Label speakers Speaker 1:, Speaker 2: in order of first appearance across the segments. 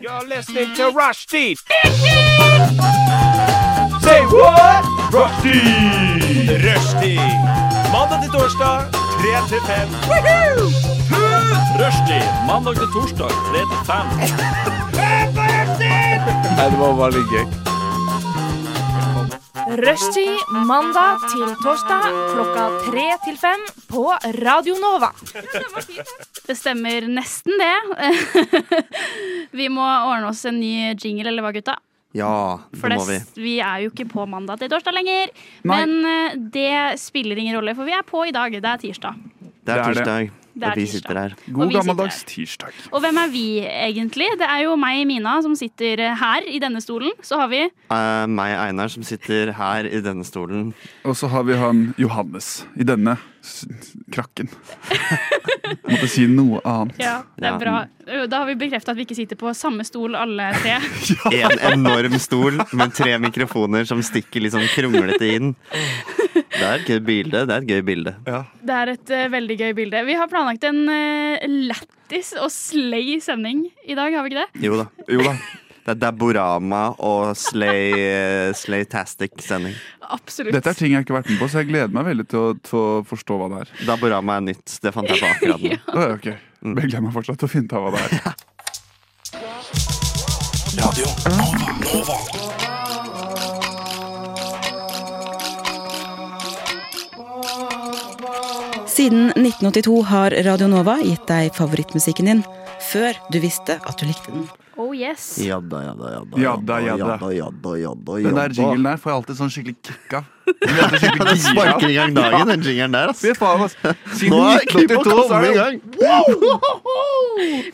Speaker 1: You're listening to Rushdie. Say what? Rushdie. Rushdie. Mandag til torsdag, 3 til 5. Rushdie. Mandag til torsdag, 3 til 5.
Speaker 2: Rushtid mandag til torsdag klokka tre til fem på Radio Nova.
Speaker 3: Det stemmer nesten det. vi må ordne oss en ny jingle, eller hva, gutta?
Speaker 4: Ja,
Speaker 3: For
Speaker 4: det
Speaker 3: det,
Speaker 4: må vi.
Speaker 3: vi er jo ikke på mandag til torsdag lenger.
Speaker 4: Nei.
Speaker 3: Men eh, det spiller ingen rolle, for vi er på i dag. Det er tirsdag.
Speaker 4: Det er
Speaker 1: er det.
Speaker 4: tirsdag,
Speaker 3: Det er
Speaker 4: og vi
Speaker 3: tirsdag.
Speaker 4: sitter her.
Speaker 3: Og
Speaker 1: God
Speaker 3: vi sitter
Speaker 1: gammeldags tirsdag.
Speaker 3: Og hvem er vi, egentlig? Det er jo meg, Mina, som sitter eh, her i denne stolen. Så har vi
Speaker 4: Eh, meg, Einar, som sitter her i denne stolen.
Speaker 5: Og så har vi han Johannes i denne s- krakken. Måtte si noe annet.
Speaker 3: Ja, det
Speaker 4: Ja.
Speaker 3: er bra. Da har vi bekrefta at vi ikke sitter på samme stol, alle tre.
Speaker 4: En enorm stol med tre mikrofoner som stikker litt sånn kronglete inn. Det er et gøy bilde. Det er et gøy bilde.
Speaker 3: Det er et eh, veldig gøy bilde. Vi har planlagt en eh, lættis og slay sending i dag, har vi ikke det?
Speaker 4: Jo da.
Speaker 5: Jo da.
Speaker 4: Det er Daborama og slay, eh, Slaytastic sending.
Speaker 3: Absolutt.
Speaker 5: Dette er ting jeg ikke har vært med på, så jeg gleder meg veldig til å, til å forstå hva det er.
Speaker 4: Daborama er nytt. Det fant jeg på akkurat nå.
Speaker 5: Å, ja, ok. Men Jeg gleder meg fortsatt til å finne ut av hva det er.
Speaker 6: Siden 1982 har Radio Nova gitt deg favorittmusikken din før du visste at du likte den.
Speaker 3: Oh yes.
Speaker 4: Jadda, jadda, jadda.
Speaker 5: Jadda, jadda.
Speaker 4: jadda, jadda,
Speaker 5: Den der
Speaker 4: jadda.
Speaker 5: jinglen der får jeg alltid sånn skikkelig kick av. Jeg blir alltid skikkelig
Speaker 4: Den
Speaker 5: gira av.
Speaker 4: sparker i gang dagen, den jingeren der. ass.
Speaker 5: Fy faen, ass.
Speaker 4: Nå
Speaker 5: Siden
Speaker 4: er klippet
Speaker 5: 1982 så
Speaker 4: kommet
Speaker 5: er
Speaker 4: i
Speaker 5: det
Speaker 4: gang.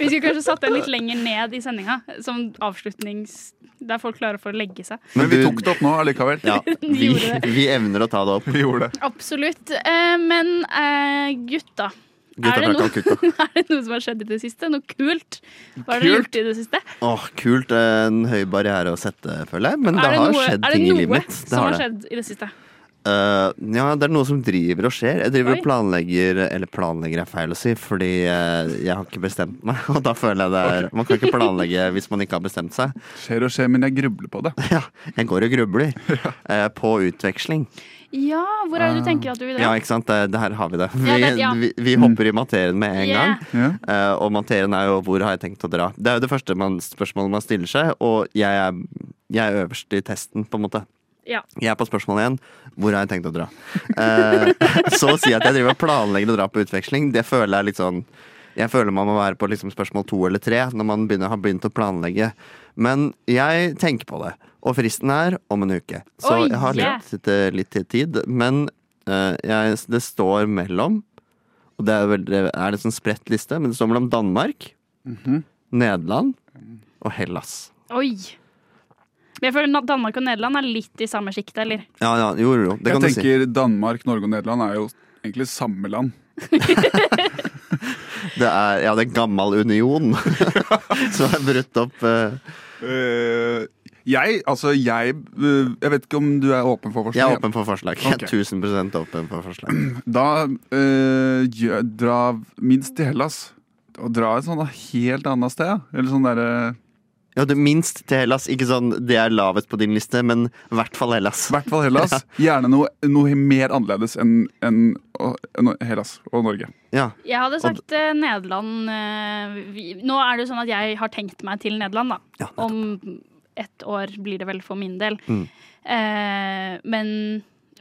Speaker 3: Vi skulle kanskje satt den litt lenger ned i sendinga, som avslutnings... Der folk klarer for å legge seg.
Speaker 5: Men vi tok det opp nå allikevel.
Speaker 4: Ja, vi,
Speaker 3: gjorde det.
Speaker 4: vi evner å ta det opp.
Speaker 5: Vi gjorde det.
Speaker 3: Absolutt. Eh, men eh, gutta,
Speaker 4: Gutta
Speaker 3: Er det
Speaker 4: klakka
Speaker 3: noe-
Speaker 4: og kukka.
Speaker 3: er det noe som har skjedd i det siste? Noe kult? Hva har dere
Speaker 5: Kult?
Speaker 3: gjort i det siste?
Speaker 4: Åh, kult. eh, En høy barriere å sette, føler jeg. Men det,
Speaker 3: er det
Speaker 4: har
Speaker 3: noe,
Speaker 4: skjedd
Speaker 3: er det
Speaker 4: ting i
Speaker 3: noe
Speaker 4: livet mitt. Det
Speaker 3: som har
Speaker 4: det.
Speaker 3: skjedd i det siste?
Speaker 4: Eh, ja, det er noe som driver og skjer. Jeg driver
Speaker 3: Oi.
Speaker 4: og planlegger Eller planlegger er feil å si, fordi eh, jeg har ikke bestemt meg. Og da føler jeg det er Man kan ikke planlegge hvis man ikke har bestemt seg.
Speaker 5: Skjer og skjer, men jeg grubler på det.
Speaker 4: Ja, jeg går og grubler eh, på utveksling.
Speaker 3: Ja, hvor er det du tenker at du vil
Speaker 4: Um, Ja,
Speaker 3: dra?
Speaker 4: ikke sant. Det, det her har vi det. Vi,
Speaker 3: Ja, det- ja.
Speaker 4: vi, vi hopper i materien med en
Speaker 3: Yeah.
Speaker 4: gang.
Speaker 5: Ja.
Speaker 4: Eh, og materien er jo 'hvor har jeg tenkt å dra'? Det er jo det første man, spørsmålet man stiller seg, og jeg er, jeg er øverst i testen, på en måte.
Speaker 3: Ja.
Speaker 4: Jeg er på spørsmål én hvor har jeg tenkt å dra? Eh, så å si at jeg driver og planlegger å dra på utveksling, det føler jeg litt sånn Jeg føler man må være på liksom spørsmål to eller tre når man begynner, har begynt å planlegge. Men jeg tenker på det, og fristen er om en uke. Så
Speaker 3: Oi,
Speaker 4: jeg har
Speaker 3: yeah.
Speaker 4: litt, eh, litt tid, men eh, jeg, det står mellom og det er, vel, det er en sånn spredt liste, men det står mellom Danmark,
Speaker 5: Mhm.
Speaker 4: Nederland og Hellas.
Speaker 3: Oi. Men jeg føler Na- Danmark og Nederland er litt i samme sjikt, eller?
Speaker 4: Ja, ja, jo, jo, jo, det
Speaker 5: Jeg
Speaker 4: kan du si.
Speaker 5: tenker Danmark, Norge og Nederland er jo egentlig samme land.
Speaker 4: Det er, ja, det er gammel union som er brutt opp. eh,
Speaker 5: Eh, jeg, altså jeg eh, Jeg vet ikke om du er åpen for forslag.
Speaker 4: Jeg er åpen for forslag. Jeg
Speaker 5: Ok.
Speaker 4: er 1000 åpen for forslag.
Speaker 5: Da eh, gjør, dra minst til Hellas. Og dra et sånt helt annet sted. Eller sånn derre
Speaker 4: Ja, det minst til Hellas. Ikke sånn det er lavest på din liste, men i hvert fall Hellas.
Speaker 5: I hvert fall Hellas. Gjerne noe, noe mer annerledes enn enn- og- enn Hellas og Norge.
Speaker 4: Ja,
Speaker 3: Jeg hadde
Speaker 4: Og-
Speaker 3: sagt eh, Nederland eh, vi, Nå er det jo sånn at jeg har tenkt meg til Nederland, da.
Speaker 4: ja nettopp.
Speaker 3: Om ett år blir det vel for min del.
Speaker 4: Mm.
Speaker 3: Eh, men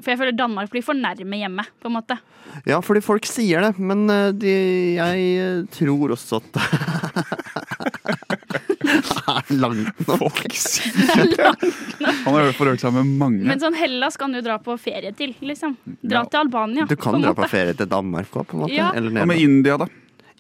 Speaker 3: For jeg føler Danmark blir for nærme hjemme, på en måte.
Speaker 4: ja, fordi folk sier det, men eh, de, jeg eh, tror også at det er langt nok.
Speaker 5: Han har jo forhørt seg med mange.
Speaker 3: Men sånn Hellas kan du dra på ferie til, liksom. Dra
Speaker 5: Ja.
Speaker 3: til Albania.
Speaker 4: Du kan
Speaker 3: en
Speaker 4: dra på
Speaker 3: måte.
Speaker 4: ferie til Danmark òg, på en måte.
Speaker 3: Ja.
Speaker 4: Eller
Speaker 5: Hva
Speaker 4: ned
Speaker 5: med
Speaker 4: mot
Speaker 5: India, da?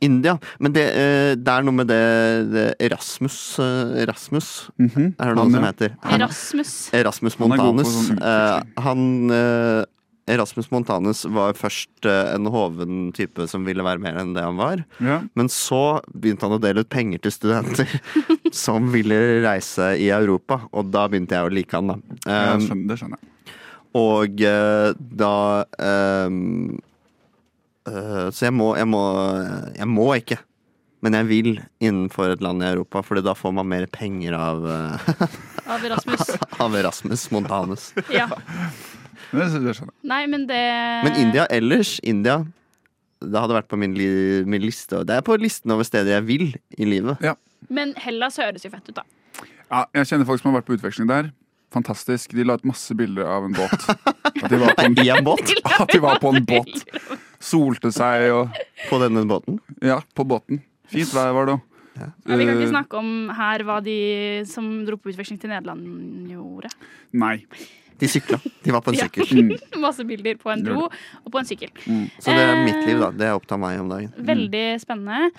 Speaker 4: India. Men det, eh, det er noe med det, det Erasmus eh, Erasmus
Speaker 5: Mhm.
Speaker 4: er det noe
Speaker 5: Han,
Speaker 4: som
Speaker 5: ja.
Speaker 4: heter.
Speaker 3: Erasmus.
Speaker 4: Erasmus
Speaker 5: Han er god på
Speaker 4: Montanus.
Speaker 5: sånn utveksling.
Speaker 4: Eh, han eh, Erasmus Montanus var først eh, en hoven type som ville være mer enn det han var.
Speaker 5: Ja.
Speaker 4: Men så begynte han å dele ut penger til studenter som ville reise i Europa, og da begynte jeg å like han, da.
Speaker 5: Ja,
Speaker 4: Eh,
Speaker 5: skjønner, det skjønner jeg.
Speaker 4: og eh, da ehm, eh, Så jeg må, jeg må Jeg må ikke. Men jeg vil innenfor et land i Europa, Fordi da får man mer penger av, eh,
Speaker 3: Av Rasmus.
Speaker 4: av Erasmus Montanus.
Speaker 3: Ja.
Speaker 5: Det, det skjønner jeg.
Speaker 3: Nei, men det
Speaker 4: Men India ellers, India Det hadde vært på min, li, min liste og Det er på listen over steder jeg vil i livet
Speaker 3: Men Hellas høres jo fett ut, da.
Speaker 5: Ja, jeg kjenner folk som har vært på utveksling der. Fantastisk. De la ut masse bilder av en båt. At de var på en,
Speaker 4: I en båt,
Speaker 5: at de var på en båt. Solte seg og
Speaker 4: på denne båten
Speaker 5: Ja, på båten. Fint vær var det òg.
Speaker 3: Ja, vi kan ikke
Speaker 4: Eh.
Speaker 3: snakke om her hva de som dro på utveksling til Nederland, gjorde.
Speaker 5: Nei.
Speaker 4: De sykla, de var på en
Speaker 3: Ja.
Speaker 4: sykkel
Speaker 5: Mm.
Speaker 3: Masse bilder på en bro og på en sykkel.
Speaker 4: Så det
Speaker 3: Eh.
Speaker 4: er mitt liv da, det opptar meg om dagen
Speaker 3: Veldig spennende.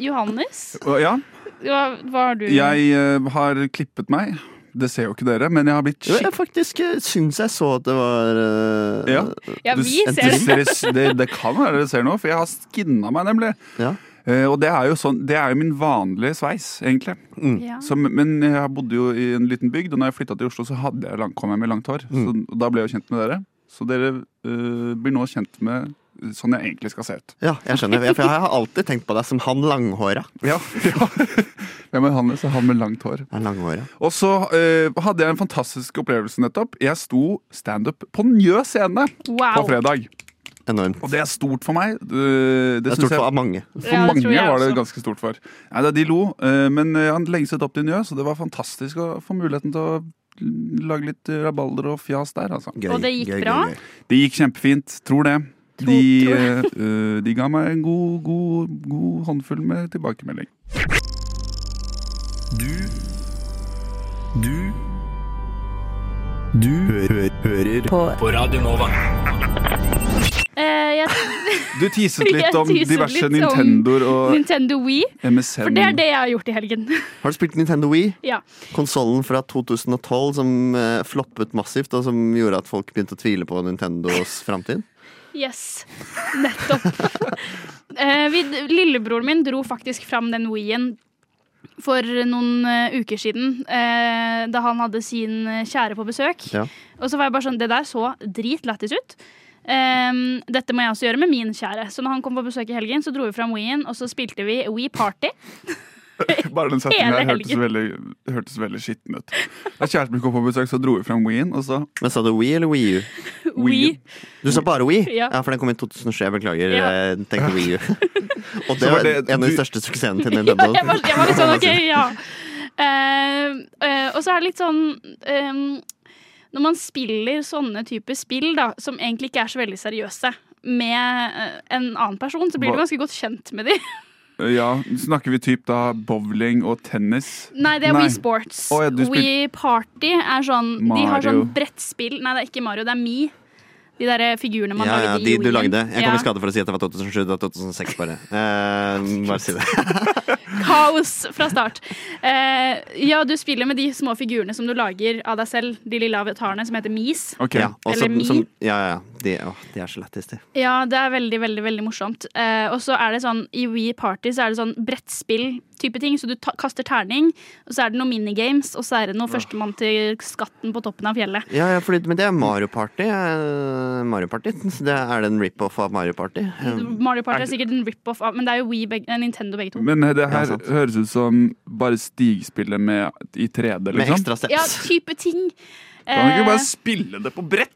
Speaker 3: Johannes,
Speaker 5: Og ja,
Speaker 3: hva, hva har du
Speaker 5: jeg eh, har klippet meg. Det ser jo ikke dere, men jeg har blitt
Speaker 4: jo, jeg
Speaker 5: skikkelig
Speaker 4: faktisk eh, syns jeg så at det var eh,
Speaker 5: Ja.
Speaker 3: Ja,
Speaker 5: Du-
Speaker 3: vi
Speaker 5: du
Speaker 3: ser det.
Speaker 5: ser- det, det kan være dere ser noe, for jeg har skinna meg, nemlig.
Speaker 4: ja.
Speaker 5: Eh, og det er jo sånn, det er jo min vanlige sveis, egentlig.
Speaker 3: Ja.
Speaker 5: Så, men jeg bodde jo i en liten bygd, og når jeg flytta til Oslo, så hadde jeg lang, kom jeg med langt hår. Så,
Speaker 4: Mm.
Speaker 5: og da ble jeg jo kjent med dere. Så dere eh, blir nå kjent med sånn jeg egentlig skal se ut.
Speaker 4: ja, jeg skjønner For jeg har alltid tenkt på deg som han langhåra
Speaker 5: Ja, ja. Hvem er han, så han med langt hår?
Speaker 4: Han langhåra
Speaker 5: Og så eh, hadde jeg en fantastisk opplevelse nettopp. Jeg sto standup på Njø scene på
Speaker 3: Wow.
Speaker 5: fredag.
Speaker 4: Enormt
Speaker 5: Og det er stort for meg. Eh,
Speaker 4: Det
Speaker 5: det
Speaker 4: er stort
Speaker 5: synes jeg-
Speaker 4: for mange
Speaker 5: For
Speaker 3: Ja, det tror
Speaker 5: mange
Speaker 3: jeg
Speaker 5: var det
Speaker 3: også.
Speaker 5: ganske stort for. Nei, da, de lo, eh, men eh, han lengset opp til Njø, så det var fantastisk å få muligheten til å lage litt eh, rabalder og fjas der, altså.
Speaker 4: gøy,
Speaker 3: Og det gikk
Speaker 4: gøy, gøy,
Speaker 3: bra?
Speaker 4: gøy.
Speaker 5: Det gikk kjempefint, tror det.
Speaker 3: Tro-
Speaker 5: De,
Speaker 3: tror
Speaker 5: eh, eh, de ga meg en god, god, god håndfull med tilbakemelding.
Speaker 7: Du Du Du hø hø hører på. på Radio Nova.
Speaker 3: Eh, jeg,
Speaker 5: Du teaset
Speaker 3: Jeg
Speaker 5: litt om
Speaker 3: teaset
Speaker 5: diverse
Speaker 3: litt om-
Speaker 5: Nintendoer og
Speaker 3: Nintendo Wii.
Speaker 5: MSN.
Speaker 3: For det er det jeg har gjort i helgen.
Speaker 4: Har du spilt Nintendo Wii?
Speaker 3: ja.
Speaker 4: Konsollen fra 2012 som eh, floppet massivt, og som gjorde at folk begynte å tvile på Nintendos framtid.
Speaker 3: Yes. Nettopp. Eh, vi, lillebroren min dro faktisk fram den Wii-en for noen eh, uker siden, eh, da han hadde sin eh, kjære på besøk.
Speaker 4: Ja.
Speaker 3: Og så var jeg bare sånn Det der så dritlættis ut. Ehm, dette må jeg også gjøre med min kjære. Så når han kom på besøk i helgen, så dro vi fram Wii-en, og så spilte vi Wii Party.
Speaker 5: Bare den setningen
Speaker 3: Hele
Speaker 5: der hørtes
Speaker 3: helgen.
Speaker 5: veldig, hørtes veldig skitten ut. Da kjæresten min kom på besøk, så dro vi fram Wien, og så
Speaker 4: Men sa du Wii eller Wii U?
Speaker 3: Wii.
Speaker 4: Du sa bare Wii?
Speaker 3: Ja.
Speaker 4: for den kom i 2007. Jeg beklager.
Speaker 3: Ja.
Speaker 4: Jeg tenkte Wii U. og det
Speaker 5: Så var
Speaker 4: var
Speaker 5: det-
Speaker 4: en av de
Speaker 5: du-
Speaker 4: største suksessene til
Speaker 3: Ja,
Speaker 4: Nintendo.
Speaker 3: jeg var, jeg var litt sånn, ok, ja. Ehm, eh, og så er det litt sånn ehm, Når man spiller sånne typer spill da, som egentlig ikke er så veldig seriøse, med eh, en annen person, så blir du
Speaker 5: Hva-
Speaker 3: ganske godt kjent med dem.
Speaker 5: eh, Ja, snakker vi typ da bowling og tennis?
Speaker 3: Nei, det er
Speaker 5: Nei.
Speaker 3: Wii Sports.
Speaker 5: Å, ja, du spil-
Speaker 3: Wii Party er sånn De har sånn
Speaker 5: Mario.
Speaker 3: brettspill Nei, det er ikke Mario, det er Mi. De derre figurene man
Speaker 4: Ja, ja,
Speaker 3: lagde
Speaker 4: de
Speaker 3: i
Speaker 4: du
Speaker 3: Wii-en.
Speaker 4: lagde. Jeg kom
Speaker 3: Ja.
Speaker 4: i skade for å si at det var 2007. Det var 2006, bare. Eh, bare si det.
Speaker 3: Kaos fra start. Eh, ja, du spiller med de små figurene som du lager av deg selv. De lille avatarene som heter Mis.
Speaker 5: Ok,
Speaker 4: Ja, og
Speaker 3: Eller
Speaker 4: som-
Speaker 3: Mi.
Speaker 4: som- ja, ja. De, å, de er så lættis, de.
Speaker 3: Ja, det er veldig, veldig veldig morsomt. Eh, og så er det sånn, I Wii Party så er det sånn brettspill-type ting. Så du ta kaster terning, og så er det noen minigames, og så er det noe førstemann til skatten på toppen av fjellet.
Speaker 4: Ja, ja, fordi, men det er Mario Party. eh, Mario Party. Så det er det en rip-off av Mario Party? Eh,
Speaker 3: Mario Party er sikkert en rip-off av Men det er jo Wii beg eh, Nintendo begge to.
Speaker 5: Men det her
Speaker 4: Ja, sant.
Speaker 5: høres ut som bare stigspillet med, i 3D,
Speaker 4: Med
Speaker 5: liksom.
Speaker 4: ekstra steps.
Speaker 3: Ja, type ting.
Speaker 5: Kan du ikke
Speaker 3: Eh,
Speaker 5: bare spille det på brett?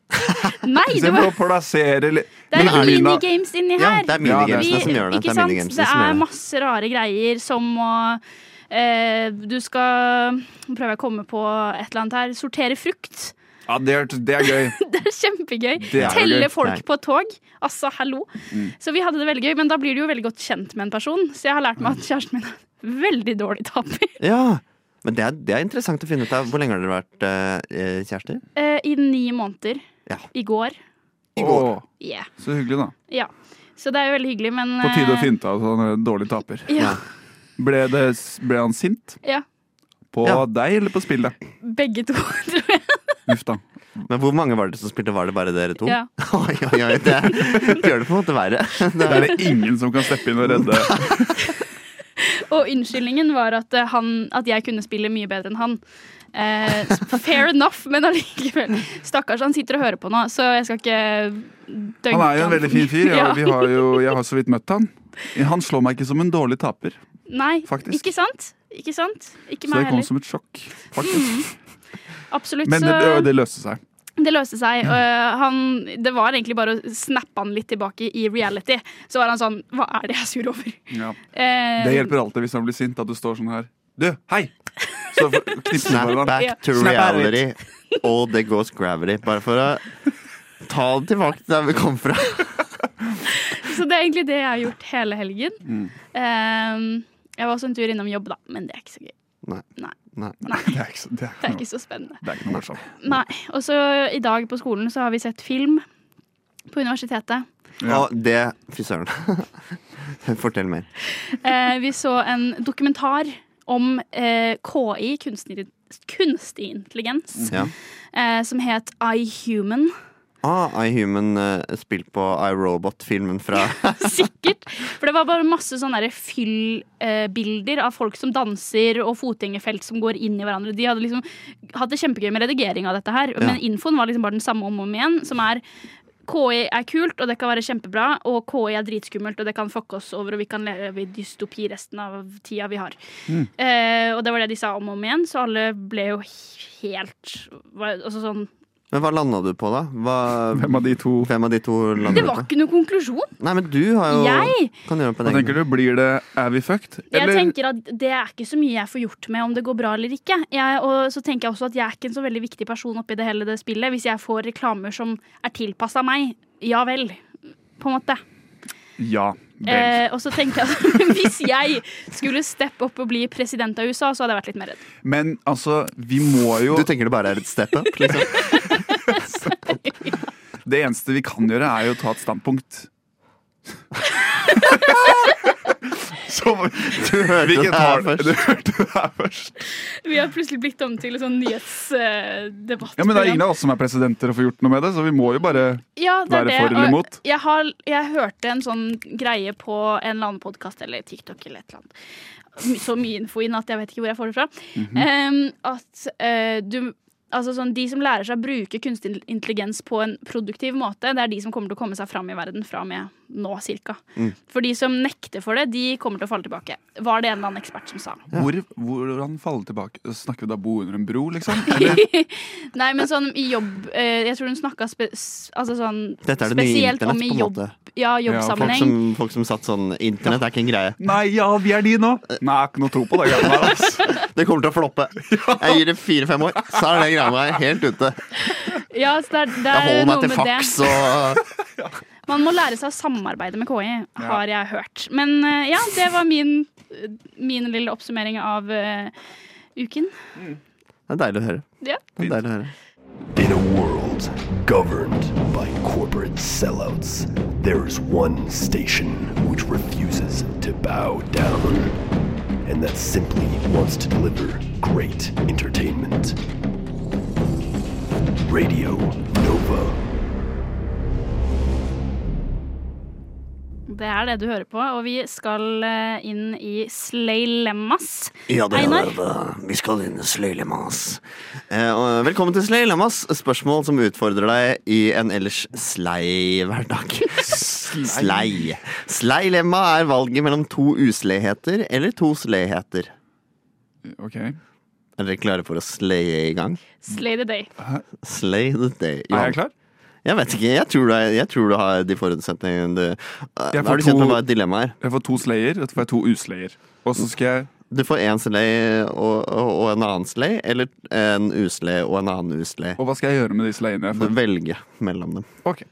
Speaker 3: nei, det,
Speaker 5: Istedenfor
Speaker 3: var,
Speaker 5: å plassere li-
Speaker 3: det
Speaker 5: Men
Speaker 3: er
Speaker 5: det da-
Speaker 3: minigames inni
Speaker 4: Ja,
Speaker 3: her.
Speaker 4: det er
Speaker 5: Ja, det er
Speaker 4: minigamesene
Speaker 5: det
Speaker 4: som gjør det.
Speaker 3: Ikke
Speaker 4: Det er
Speaker 3: sant?
Speaker 4: minigamesene
Speaker 3: Det
Speaker 4: som gjør
Speaker 3: er
Speaker 4: det.
Speaker 3: masse rare greier som å eh, Du skal Nå prøver jeg å komme på et eller annet her. Sortere frukt.
Speaker 5: Ja, det er, det er gøy.
Speaker 3: Det er kjempegøy.
Speaker 5: Det Mm. er jo
Speaker 3: Telle
Speaker 5: gøy.
Speaker 4: Nei.
Speaker 3: folk på tog. Altså, hallo. Så vi hadde det veldig gøy, men da blir du jo veldig godt kjent med en person. Så jeg har lært
Speaker 5: Mm.
Speaker 3: meg at kjæresten min er veldig dårlig taper.
Speaker 4: Ja, men det er, det er interessant å finne ut av. Hvor lenge har dere vært eh, kjærester?
Speaker 3: Eh, I ni måneder.
Speaker 4: Ja.
Speaker 3: I går.
Speaker 5: Åh,
Speaker 3: Yeah.
Speaker 5: så hyggelig, da.
Speaker 3: Ja. Så det er jo veldig hyggelig, men
Speaker 5: På tide å
Speaker 3: eh,
Speaker 5: finte av sånn eh, dårlig taper.
Speaker 3: Ja.
Speaker 5: Ble, det, ble han sint
Speaker 3: ja.
Speaker 5: på
Speaker 4: Ja.
Speaker 5: deg eller på spillet?
Speaker 3: Begge to, tror jeg.
Speaker 5: Uff da.
Speaker 4: Men hvor mange var det som spilte? Var det bare dere
Speaker 5: Oh.
Speaker 4: to?
Speaker 3: Ja.
Speaker 4: Oi, oi, oi, det er- gjør det på en måte verre.
Speaker 5: Det er det ingen som kan steppe inn og redde.
Speaker 3: Og unnskyldningen var at, eh, han, at jeg kunne spille mye bedre enn han. Eh, fair enough, men allikevel. Stakkars, han sitter og hører på nå, så jeg skal ikke dønke
Speaker 5: Han er jo en veldig fin fyr.
Speaker 3: Ja.
Speaker 5: og vi har jo, jeg har så vidt møtt han. Han slår meg ikke som en dårlig taper,
Speaker 3: Nei,
Speaker 5: Faktisk.
Speaker 3: ikke sant? Ikke sant? Ikke
Speaker 5: så det
Speaker 3: meg
Speaker 5: kom
Speaker 3: heller. Mm.
Speaker 5: som et sjokk. faktisk.
Speaker 3: Absolutt.
Speaker 5: Men det,
Speaker 3: så-
Speaker 5: det løste seg.
Speaker 3: Det løste seg. og han, det var egentlig bare å snappe han litt tilbake i reality. Så var han sånn Hva er det jeg er sur over?
Speaker 5: Ja.
Speaker 3: Eh,
Speaker 5: Det hjelper alltid hvis han blir sint, at du står sånn her. Du, hei! Så for- knipser du
Speaker 4: Snap
Speaker 5: bare hverandre.
Speaker 3: Ja.
Speaker 4: back to
Speaker 5: Snap out of it.
Speaker 4: reality. All that goes gravity. Bare for å ta det tilbake til der vi kom fra.
Speaker 3: Så det er egentlig det jeg har gjort hele helgen.
Speaker 5: Mm.
Speaker 3: Eh, jeg var også en tur innom jobb, da, men det er ikke så gøy.
Speaker 4: Nei.
Speaker 5: Det er ikke så- det er
Speaker 3: Det
Speaker 5: ikke
Speaker 3: er
Speaker 5: noe-
Speaker 3: ikke så spennende.
Speaker 5: det er ikke noe morsomt.
Speaker 3: Nei. Og så i dag på skolen så har vi sett film på universitetet.
Speaker 5: Ja.
Speaker 4: Og det Fy søren. Fortell mer.
Speaker 3: Eh, vi så en dokumentar om eh, KI, kunstig, kunstig intelligens,
Speaker 4: Ja.
Speaker 3: eh, som het iHuman.
Speaker 4: Ah, I Human eh, spilt på iRobot-filmen fra
Speaker 3: Sikkert. For det var bare masse sånne der fyllbilder av folk som danser, og fotgjengerfelt som går inn i hverandre. De hadde liksom hatt det kjempegøy med redigering av dette her, men infoen var liksom bare den samme om og om igjen, som er KI er kult, og det kan være kjempebra, og KI er dritskummelt, og det kan fucke oss over, og vi kan leve i dystopi resten av tida vi har. Eh, og det var det de sa om og om igjen, så alle ble jo helt var- Altså sånn
Speaker 4: Men hva landa du på, da? Hva,
Speaker 5: Hvem av de to
Speaker 4: hvem av de to landa
Speaker 3: Det
Speaker 4: du
Speaker 3: var
Speaker 4: på?
Speaker 3: ikke noe konklusjon!
Speaker 4: Nei, men du har jo
Speaker 3: Jeg?
Speaker 4: Kan gjøre det på
Speaker 5: Hva
Speaker 4: en
Speaker 5: tenker
Speaker 4: egen
Speaker 5: du? Blir det Er vi fucked?
Speaker 3: Jeg
Speaker 5: Eller
Speaker 3: tenker at Det er ikke så mye jeg får gjort med om det går bra eller ikke. Jeg, og så tenker jeg også at jeg er ikke en så veldig viktig person oppi det hele det spillet. Hvis jeg får reklamer som er tilpassa meg, ja vel. På en måte.
Speaker 5: ja? Vel.
Speaker 3: Eh, og så tenker jeg at hvis jeg skulle steppe opp og bli president av USA, så hadde jeg vært litt mer redd.
Speaker 5: Men altså, vi må jo
Speaker 4: Du tenker det bare er et step up? Liksom?
Speaker 5: Det eneste vi kan gjøre, er jo å ta et standpunkt. Så
Speaker 4: Du hørte
Speaker 5: hvilket
Speaker 4: det her
Speaker 5: har du?
Speaker 4: først.
Speaker 5: Du hørte det her først.
Speaker 3: Vi har plutselig blitt om til en sånn nyhetsdebatt.
Speaker 5: Ja, Men det er ingen av oss som er presidenter og får gjort noe med det, så vi må jo bare
Speaker 3: Ja, det er
Speaker 5: Være
Speaker 3: det.
Speaker 5: for eller
Speaker 3: Og
Speaker 5: imot?
Speaker 3: Jeg, har, jeg hørte en sånn greie på en eller annen podkast eller TikTok eller et eller annet. My- Så mye info inn at jeg vet ikke hvor jeg får det fra.
Speaker 4: Mhm.
Speaker 3: Em, at eh, du Altså sånn, De som lærer seg å bruke kunstig intelligens på en produktiv måte, det er de som kommer til å komme seg fram i verden fra og med nå, cirka.
Speaker 4: Mm.
Speaker 3: For de som nekter for det, de kommer til å falle tilbake. Var det en eller annen ekspert som sa.
Speaker 5: hvor, Hvordan falle tilbake? Snakker vi da bo under en bro, liksom? Eller,
Speaker 3: Nei, men sånn i jobb eh, Jeg tror hun snakka spe, altså sånn,
Speaker 4: Dette er det nye
Speaker 3: spesielt om
Speaker 4: internett,
Speaker 3: i
Speaker 4: på en
Speaker 3: jobb,
Speaker 4: måte.
Speaker 3: ja,
Speaker 4: Folk
Speaker 3: jobbsammenheng.
Speaker 4: som, folk som satt sånn Internett er ikke en greie.
Speaker 5: nei, ja, vi er de nå! Nei, jeg har ikke noe tro på det. greiene der, ass.
Speaker 4: Det kommer til å floppe. Jeg gir det fire-fem år, så er det greia meg helt ute.
Speaker 3: Ja, så det er, det
Speaker 4: Jeg
Speaker 3: er
Speaker 4: holder
Speaker 3: noe
Speaker 4: meg til
Speaker 3: med
Speaker 4: faks
Speaker 3: det.
Speaker 4: og
Speaker 3: Man må lære seg å samarbeide med KI, har jeg hørt. Men eh, ja, det var min, eh, min lille oppsummering av eh, uken.
Speaker 4: Det er deilig å høre.
Speaker 3: Ja.
Speaker 4: Det er deilig å høre.
Speaker 7: In a world governed by corporate sellouts, there is one station which refuses to bow down, and that simply wants to deliver great entertainment. Radio Nova.
Speaker 3: Det er det du hører på, og vi skal eh, inn i Sleilemmas.
Speaker 4: Ja, det
Speaker 3: Einar?
Speaker 4: er det. Vi skal inn i Sløylemas. Eh, og velkommen til Sløylemas. Spørsmål som utfordrer deg i en ellers slei hverdag. Slei. Sleilemma er valget mellom to usleiheter eller to sleiheter.
Speaker 5: Ok,
Speaker 4: Er dere klare for å sleie i gang?
Speaker 3: Slay the day.
Speaker 4: Slay the day.
Speaker 5: Er
Speaker 4: Johan.
Speaker 5: jeg klar?
Speaker 4: Jeg vet ikke. Jeg tror du, er- jeg tror du har de forutsetningene du
Speaker 5: Jeg får
Speaker 4: Er du kjent med
Speaker 5: to-
Speaker 4: hva et dilemma er?
Speaker 5: Jeg får to slayer, og så får jeg to usleier. Og så skal jeg
Speaker 4: Du får én slay og, og, og en annen slay, eller en uslay og en annen uslay.
Speaker 5: Og hva skal jeg gjøre med de sleiene jeg
Speaker 4: Du
Speaker 5: får?
Speaker 4: velger mellom dem.
Speaker 5: Ok.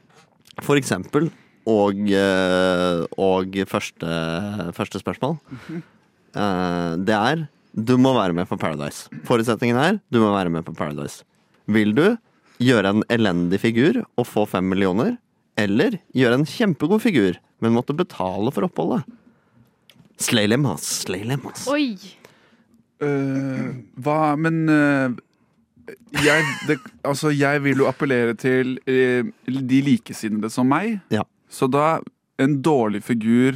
Speaker 4: For eksempel og, eh, og første, første spørsmål. Eh, Det er du må være med på Paradise. Forutsetningen er du må være med på Paradise. Vil du gjøre en elendig figur og få fem millioner? Eller gjøre en kjempegod figur, men måtte betale for oppholdet? Slay lemmas, slay lemmas.
Speaker 3: Oi.
Speaker 5: Øh, hva Men øh, jeg, det, altså, jeg vil jo appellere til øh, de likesinnede som meg.
Speaker 4: Ja.
Speaker 5: Så da en dårlig figur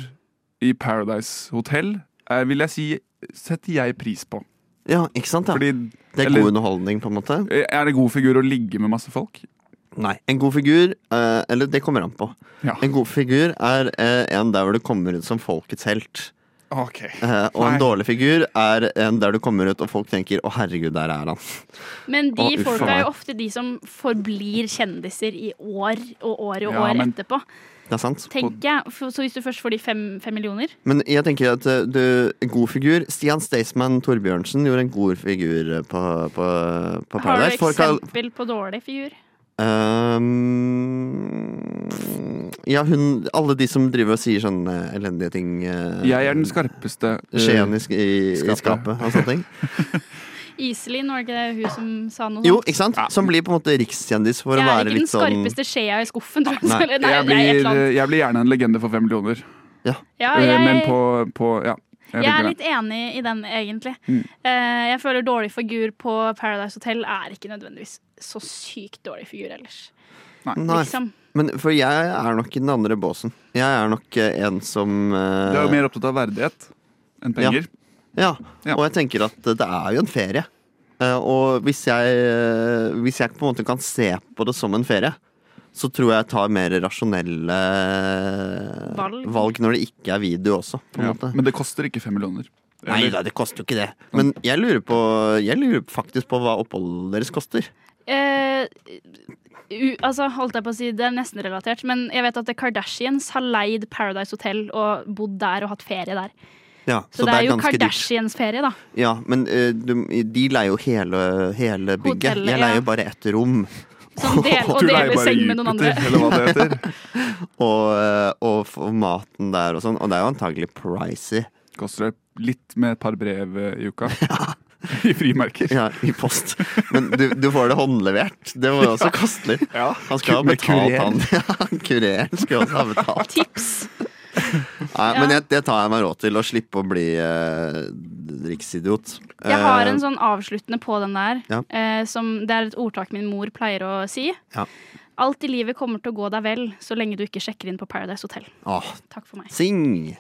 Speaker 5: i Paradise Hotel er, vil jeg si setter jeg pris på.
Speaker 4: Ja, ikke sant? Ja.
Speaker 5: Fordi eh,
Speaker 4: det er
Speaker 5: eller-
Speaker 4: god underholdning, på en måte.
Speaker 5: er det god figur å ligge med masse folk?
Speaker 4: Nei. En god figur eh, Eller det kommer an på.
Speaker 5: Ja.
Speaker 4: En god figur er eh, en der hvor du kommer ut som folkets helt.
Speaker 5: Ok.
Speaker 4: Eh, og en
Speaker 5: Nei.
Speaker 4: dårlig figur er en der du kommer ut og folk tenker 'Å, herregud, der er han'.
Speaker 3: Men de
Speaker 4: Å, uff,
Speaker 3: folka
Speaker 4: faen.
Speaker 3: er jo ofte de som forblir kjendiser i år og år og
Speaker 5: Ja,
Speaker 3: år
Speaker 5: men-
Speaker 3: etterpå.
Speaker 4: Det er sant.
Speaker 3: Tenker jeg. For- Så hvis du først får de fem, fem millioner
Speaker 4: Men jeg tenker at eh, du, en god figur Stian Staysman Torbjørnsen gjorde en god figur eh, på, på, på
Speaker 3: Har du
Speaker 4: Paradise. Folk har-
Speaker 3: eksempel på dårlig figur?
Speaker 4: Ehm, ja, hun Alle de som driver og sier sånne elendige ting. eh,
Speaker 5: Jeg er den skarpeste. eh,
Speaker 4: Skjeen i, sk- i, i
Speaker 5: Skapet.
Speaker 4: skapet og sånne ting.
Speaker 3: Iselin, var det ikke det hun som sa noe sånt?
Speaker 4: Jo, ikke sant? Som blir på en måte rikskjendis for å
Speaker 3: jeg er ikke
Speaker 4: være
Speaker 3: den
Speaker 4: litt sånn
Speaker 3: skarpeste liksom. skjea i skuffen, tror jeg.
Speaker 4: Nei,
Speaker 3: Eller, nei, nei,
Speaker 5: Jeg
Speaker 3: et
Speaker 5: blir,
Speaker 3: eller annet.
Speaker 5: jeg blir gjerne en legende for fem millioner.
Speaker 3: Ja,
Speaker 5: Eh,
Speaker 3: jeg,
Speaker 5: Men på, på ja. Jeg
Speaker 3: jeg er
Speaker 5: tenker det.
Speaker 3: litt enig i den, egentlig.
Speaker 5: Mm.
Speaker 3: Eh, jeg føler dårlig figur på Paradise Hotel er ikke nødvendigvis så sykt dårlig figur ellers.
Speaker 4: Nei,
Speaker 3: Liksom.
Speaker 4: men for jeg er nok i den andre båsen. Jeg er nok eh, en som eh,
Speaker 5: Du er jo mer opptatt av verdighet enn penger.
Speaker 4: Ja,
Speaker 5: Ja.
Speaker 4: og jeg tenker at det er jo en ferie. Eh, Og hvis jeg, eh, hvis jeg på en måte kan se på det som en ferie, så tror jeg jeg tar mer rasjonelle eh,
Speaker 3: Valg.
Speaker 4: når det ikke er video også. På en
Speaker 5: Ja.
Speaker 4: måte.
Speaker 5: Men det koster ikke fem millioner.
Speaker 4: Nei da, det koster jo ikke det. Men jeg lurer, på, jeg lurer faktisk på hva oppholdet deres koster.
Speaker 3: Eh, u, altså, holdt jeg på å si, det er nesten relatert, men jeg vet at The Kardashians har leid Paradise Hotel og bodd der og hatt ferie der.
Speaker 4: Ja,
Speaker 3: Så, det, er jo
Speaker 4: ganske dyrt.
Speaker 3: Kardashians-ferie, da.
Speaker 4: Ja, men eh, de, de leier jo hele, hele bygget.
Speaker 3: Hotellet,
Speaker 4: jeg leier
Speaker 3: ja.
Speaker 4: jo bare ett rom.
Speaker 3: Som del, og
Speaker 5: Du leier
Speaker 3: deler
Speaker 5: bare
Speaker 3: seng med noen
Speaker 5: Jupiter,
Speaker 3: andre.
Speaker 5: Eller hva det heter.
Speaker 4: Og, eh, og f- maten der og sånn. Og det er jo antagelig pricy.
Speaker 5: Koster det litt med et par brev eh, i uka. I frimerker.
Speaker 4: Ja, i post. Men du, du får det håndlevert. Det må jo også koste litt.
Speaker 5: Ja.
Speaker 4: Han skal ha
Speaker 5: Med
Speaker 4: betalt,
Speaker 5: kurer.
Speaker 4: han. Ja, kureren skal også ha betalt.
Speaker 3: Tips!
Speaker 4: Nei, men jeg, det tar jeg meg råd til, å slippe å bli eh, riksidiot.
Speaker 3: Jeg har en
Speaker 4: Eh,
Speaker 3: sånn avsluttende på den der,
Speaker 4: Ja.
Speaker 3: eh, som det er et ordtak min mor pleier å si.
Speaker 4: Ja.
Speaker 3: Alt i livet kommer til å gå deg vel så lenge du ikke sjekker inn på Paradise Hotel.
Speaker 4: Åh,
Speaker 3: Takk for meg.
Speaker 4: Eh, ah, sing!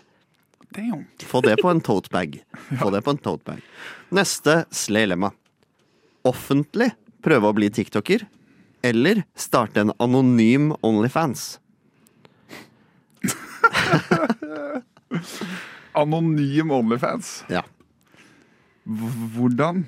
Speaker 5: Damn.
Speaker 4: Få det på en totebag. Få det på en totebag. Neste sleilemma. Offentlig prøve å bli tiktoker, eller starte en anonym Onlyfans.
Speaker 5: Anonym Onlyfans.
Speaker 4: Ja.
Speaker 5: H- Hvordan?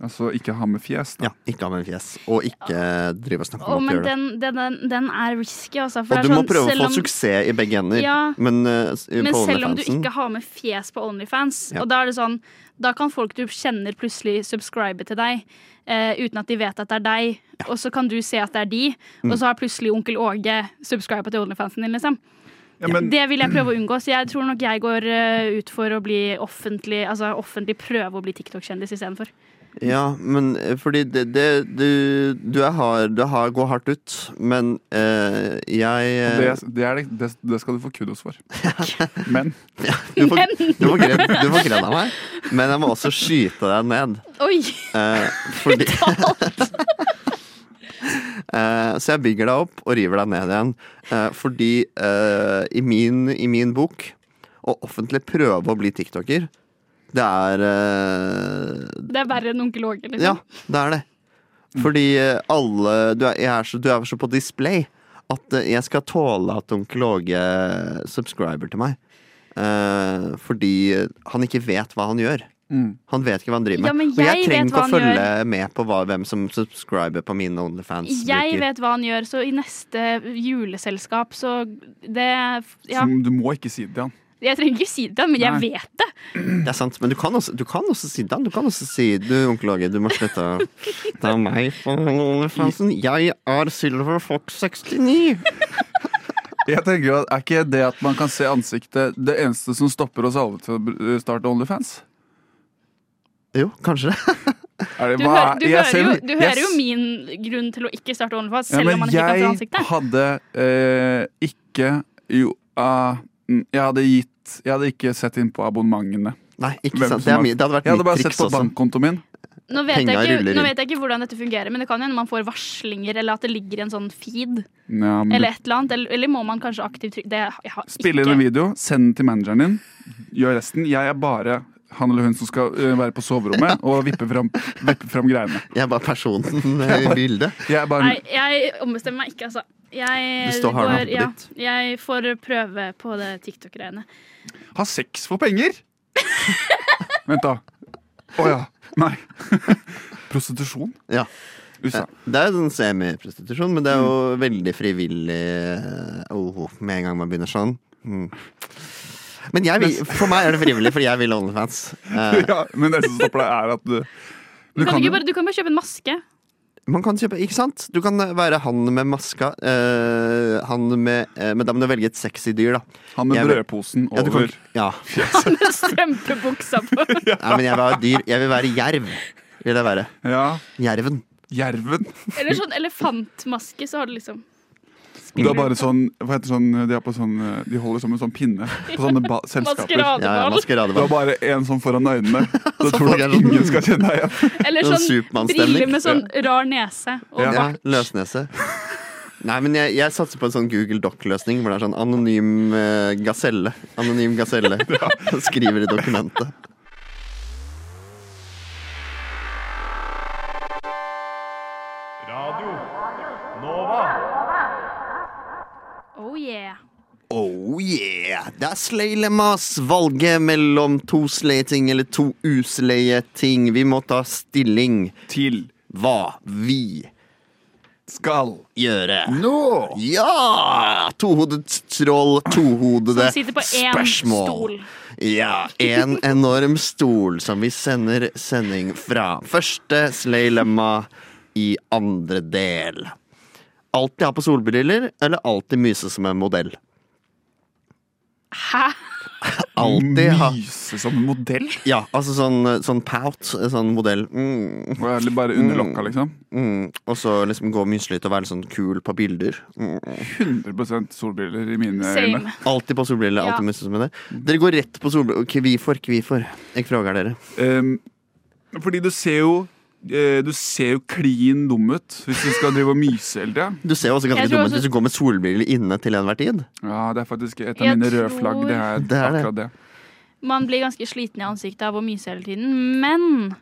Speaker 5: Altså ikke ha med fjes, da.
Speaker 4: ja ikke ha med fjes, og ikke drive og snakke
Speaker 3: Å,
Speaker 4: om at du
Speaker 3: men
Speaker 4: gjør det.
Speaker 3: den, den, den, den er risky, altså. For
Speaker 4: Og
Speaker 3: det er
Speaker 4: du må
Speaker 3: sånn,
Speaker 4: prøve å
Speaker 3: selv
Speaker 4: få
Speaker 3: om-
Speaker 4: suksess i begge ender,
Speaker 3: Ja.
Speaker 4: men, eh, s-
Speaker 3: Men
Speaker 4: på
Speaker 3: selv om du
Speaker 4: Onlyfansen
Speaker 3: ikke har med fjes på Onlyfans,
Speaker 4: Ja.
Speaker 3: og da er det sånn Da kan folk du kjenner plutselig subscribe til deg eh, uten at de vet at det er deg, og så kan du se at det er de,
Speaker 4: Mm.
Speaker 3: og så har plutselig onkel Åge subscriba til Onlyfansen din, liksom.
Speaker 5: Ja, men
Speaker 3: Det vil jeg prøve å unngå, så jeg tror nok jeg går eh, ut for å bli offentlig Altså offentlig prøve å bli TikTok-kjendis istedenfor.
Speaker 4: Ja, men eh, fordi det, det du, du, er hard, du er hard, går hardt ut, men eh, jeg
Speaker 5: det,
Speaker 4: eh,
Speaker 5: det, er, det- det, det skal du få kudos for. Men
Speaker 4: du, får, du, får gren, du får gren av meg, men jeg må også skyte deg ned.
Speaker 3: Oi!
Speaker 4: eh, fordi Eh, Så jeg bygger deg opp og river deg ned igjen. Eh, fordi eh, i, min, i min bok å offentlig prøve å bli tiktoker, det er eh,
Speaker 3: Det er verre enn onkel Åge, liksom.
Speaker 4: Ja, det er det. Fordi eh, alle Du er, jeg er, så, du er så på display at eh, jeg skal tåle at onkel Åge subscriber til meg. Eh, fordi han ikke vet hva han gjør.
Speaker 5: mm.
Speaker 4: Han vet ikke hva han driver med.
Speaker 3: Ja, men
Speaker 4: og jeg
Speaker 3: jeg vet
Speaker 4: trenger ikke
Speaker 3: hva
Speaker 4: å
Speaker 3: han
Speaker 4: følge med på hva, hvem som subscriber på mine Onlyfans.
Speaker 3: Jeg vet hva han gjør, så i neste juleselskap, så det Ja.
Speaker 5: så du må ikke si det til han.
Speaker 3: Jeg trenger ikke si det til ham, men jeg
Speaker 5: Nei.
Speaker 3: vet det.
Speaker 4: Det er sant, men du kan også, du kan også si den. Du kan også si du, onkel Åge, du må slutte å ta meg på Onlyfansen. Jeg er Silver Fox 69.
Speaker 5: Jeg tenker at Er ikke det at man kan se ansiktet det eneste som stopper oss alle til å br- starte Onlyfans?
Speaker 4: Jo, kanskje det.
Speaker 5: Er det,
Speaker 3: Du,
Speaker 5: hva
Speaker 3: hører,
Speaker 5: er-
Speaker 3: du,
Speaker 5: jeg
Speaker 3: hører,
Speaker 5: selv-
Speaker 3: jo, du
Speaker 5: jeg
Speaker 3: hører jo
Speaker 5: s-
Speaker 3: min grunn til å ikke starte OnlyFans,
Speaker 5: Ja,
Speaker 3: selv om
Speaker 5: men
Speaker 3: man ikke kan se
Speaker 5: Jeg
Speaker 3: ansiktet.
Speaker 5: hadde eh, ikke Jo, ah, mm, jeg hadde gitt Jeg hadde ikke sett inn på abonnementene.
Speaker 4: Nei, ikke
Speaker 5: Hvem
Speaker 4: sant.
Speaker 5: som
Speaker 4: Det, er
Speaker 5: har-
Speaker 4: mi, det hadde vært
Speaker 5: Jeg hadde
Speaker 4: mitt
Speaker 5: bare sett
Speaker 4: triks
Speaker 5: på
Speaker 4: også.
Speaker 5: bankkontoen min.
Speaker 3: Nå vet,
Speaker 4: Penga
Speaker 3: jeg ikke,
Speaker 4: ruller
Speaker 3: nå
Speaker 4: inn.
Speaker 3: vet jeg ikke hvordan dette fungerer, men det kan hende man får varslinger, eller at det ligger i en sånn feed,
Speaker 5: Ja, men du-
Speaker 3: eller et eller annet. Eller, eller må man kanskje aktivt trykke det, jeg har
Speaker 5: Mm. Spille inn
Speaker 3: ikke-
Speaker 5: en video, send den til manageren din. Gjør resten. Jeg er bare han eller hun som skal eh, være på soverommet og vippe fram, vippe fram greiene.
Speaker 4: Jeg er bare personen i bildet.
Speaker 5: Jeg er bare,
Speaker 3: Nei, jeg ombestemmer meg ikke, altså. Jeg,
Speaker 4: Du står hard
Speaker 3: går-
Speaker 4: med hoppet
Speaker 3: ja,
Speaker 4: ditt.
Speaker 3: jeg får prøve på det TikTok-greiene.
Speaker 5: ha sex for penger! Vent, da. Å ja. Nei. Prostitusjon?
Speaker 4: Ja.
Speaker 5: USA.
Speaker 4: Det er jo sånn semiprostitusjon, men det er
Speaker 5: Mm.
Speaker 4: jo veldig frivillig oh, med en gang man begynner sånn. Mm. Men jeg vil, for meg er det frivillig, fordi jeg vil Onlyfans. Eh,
Speaker 5: Ja, men det som stopper deg, er at du,
Speaker 3: Du kan,
Speaker 5: kan
Speaker 3: du
Speaker 5: jo-
Speaker 3: ikke bare, du kan bare kjøpe en maske.
Speaker 4: man kan kjøpe, ikke sant? Du kan eh, være han med maska, eh, han med eh, Men da må du velge et sexy dyr, da.
Speaker 5: han med
Speaker 4: Jeg vil-
Speaker 5: brødposen
Speaker 4: Ja, du kan,
Speaker 5: over
Speaker 4: ja.
Speaker 3: Med strømpebuksa på.
Speaker 4: Nei, men jeg vil ha et dyr. Jeg vil være jerv. Vil jeg være.
Speaker 5: Ja,
Speaker 4: Jerven.
Speaker 5: jerven.
Speaker 3: Eller sånn elefantmaske, så har du liksom
Speaker 5: Du har bare sånn, hva heter sånn De, har på sånn, eh, de holder som en sånn pinne på sånne ba selskaper.
Speaker 3: Maskeradeball.
Speaker 4: Ja, ja,
Speaker 5: Du har
Speaker 4: maskeradeball.
Speaker 5: bare en sånn foran øynene. Så tror
Speaker 4: folk
Speaker 5: du
Speaker 4: er
Speaker 5: at
Speaker 4: sånn-
Speaker 5: ingen skal kjenne deg igjen.
Speaker 3: Eller
Speaker 4: Sånn
Speaker 3: sånn
Speaker 4: Supermann-stemning.
Speaker 3: briller med sånn rar nese. Og
Speaker 5: Ja.
Speaker 4: Ja, løsnese. Nei, men jeg, jeg satser på en sånn Google Doc-løsning, hvor det er sånn anonym eh, gaselle. Anonym gaselle. Skriver i dokumentet.
Speaker 1: Radio Nova.
Speaker 3: Oh yeah.
Speaker 4: Oh yeah! Det er sleilemas. Valget mellom to sleie ting eller to usleie ting. Vi må ta stilling.
Speaker 5: Til
Speaker 4: Hva vi
Speaker 5: skal
Speaker 4: gjøre.
Speaker 5: nå
Speaker 4: Ja! Tohodet troll, tohodede
Speaker 3: Som sitter på én
Speaker 4: spørsmål.
Speaker 3: stol.
Speaker 4: Ja, en enorm stol som vi sender sending fra. Første Sleilemma i andre del. Alltid ha på solbriller, eller alltid myse som en modell?
Speaker 3: Hæ?
Speaker 4: Alltid ha
Speaker 5: myse som en modell?
Speaker 4: Ja, altså sånn, sånn pout, sånn modell. Mm,
Speaker 5: Og jeg er bare under lokka, liksom?
Speaker 4: mm. Og så liksom gå myselig ut og være litt sånn kul på bilder. Mm.
Speaker 5: 100 solbriller i mine øyne.
Speaker 3: Same.
Speaker 4: Alltid på solbriller,
Speaker 3: Ja.
Speaker 4: alltid myse som en modell. Dere går rett på solbriller. Kvifor, kvifor? Jeg frågar dere.
Speaker 5: Ehm, fordi du ser jo eh, du ser jo klin dum ut hvis du skal drive og myse hele tida.
Speaker 4: Du ser jo også ganske
Speaker 3: Jeg tror
Speaker 4: dum ut
Speaker 3: også-
Speaker 4: hvis du går med solbriller inne til enhver tid.
Speaker 5: Ja, det er faktisk et av
Speaker 3: Jeg
Speaker 5: mine røde
Speaker 3: tror-
Speaker 5: flagg. Det er,
Speaker 4: Det er det.
Speaker 5: akkurat det.
Speaker 3: Man blir ganske sliten i ansiktet av å myse hele tiden. Men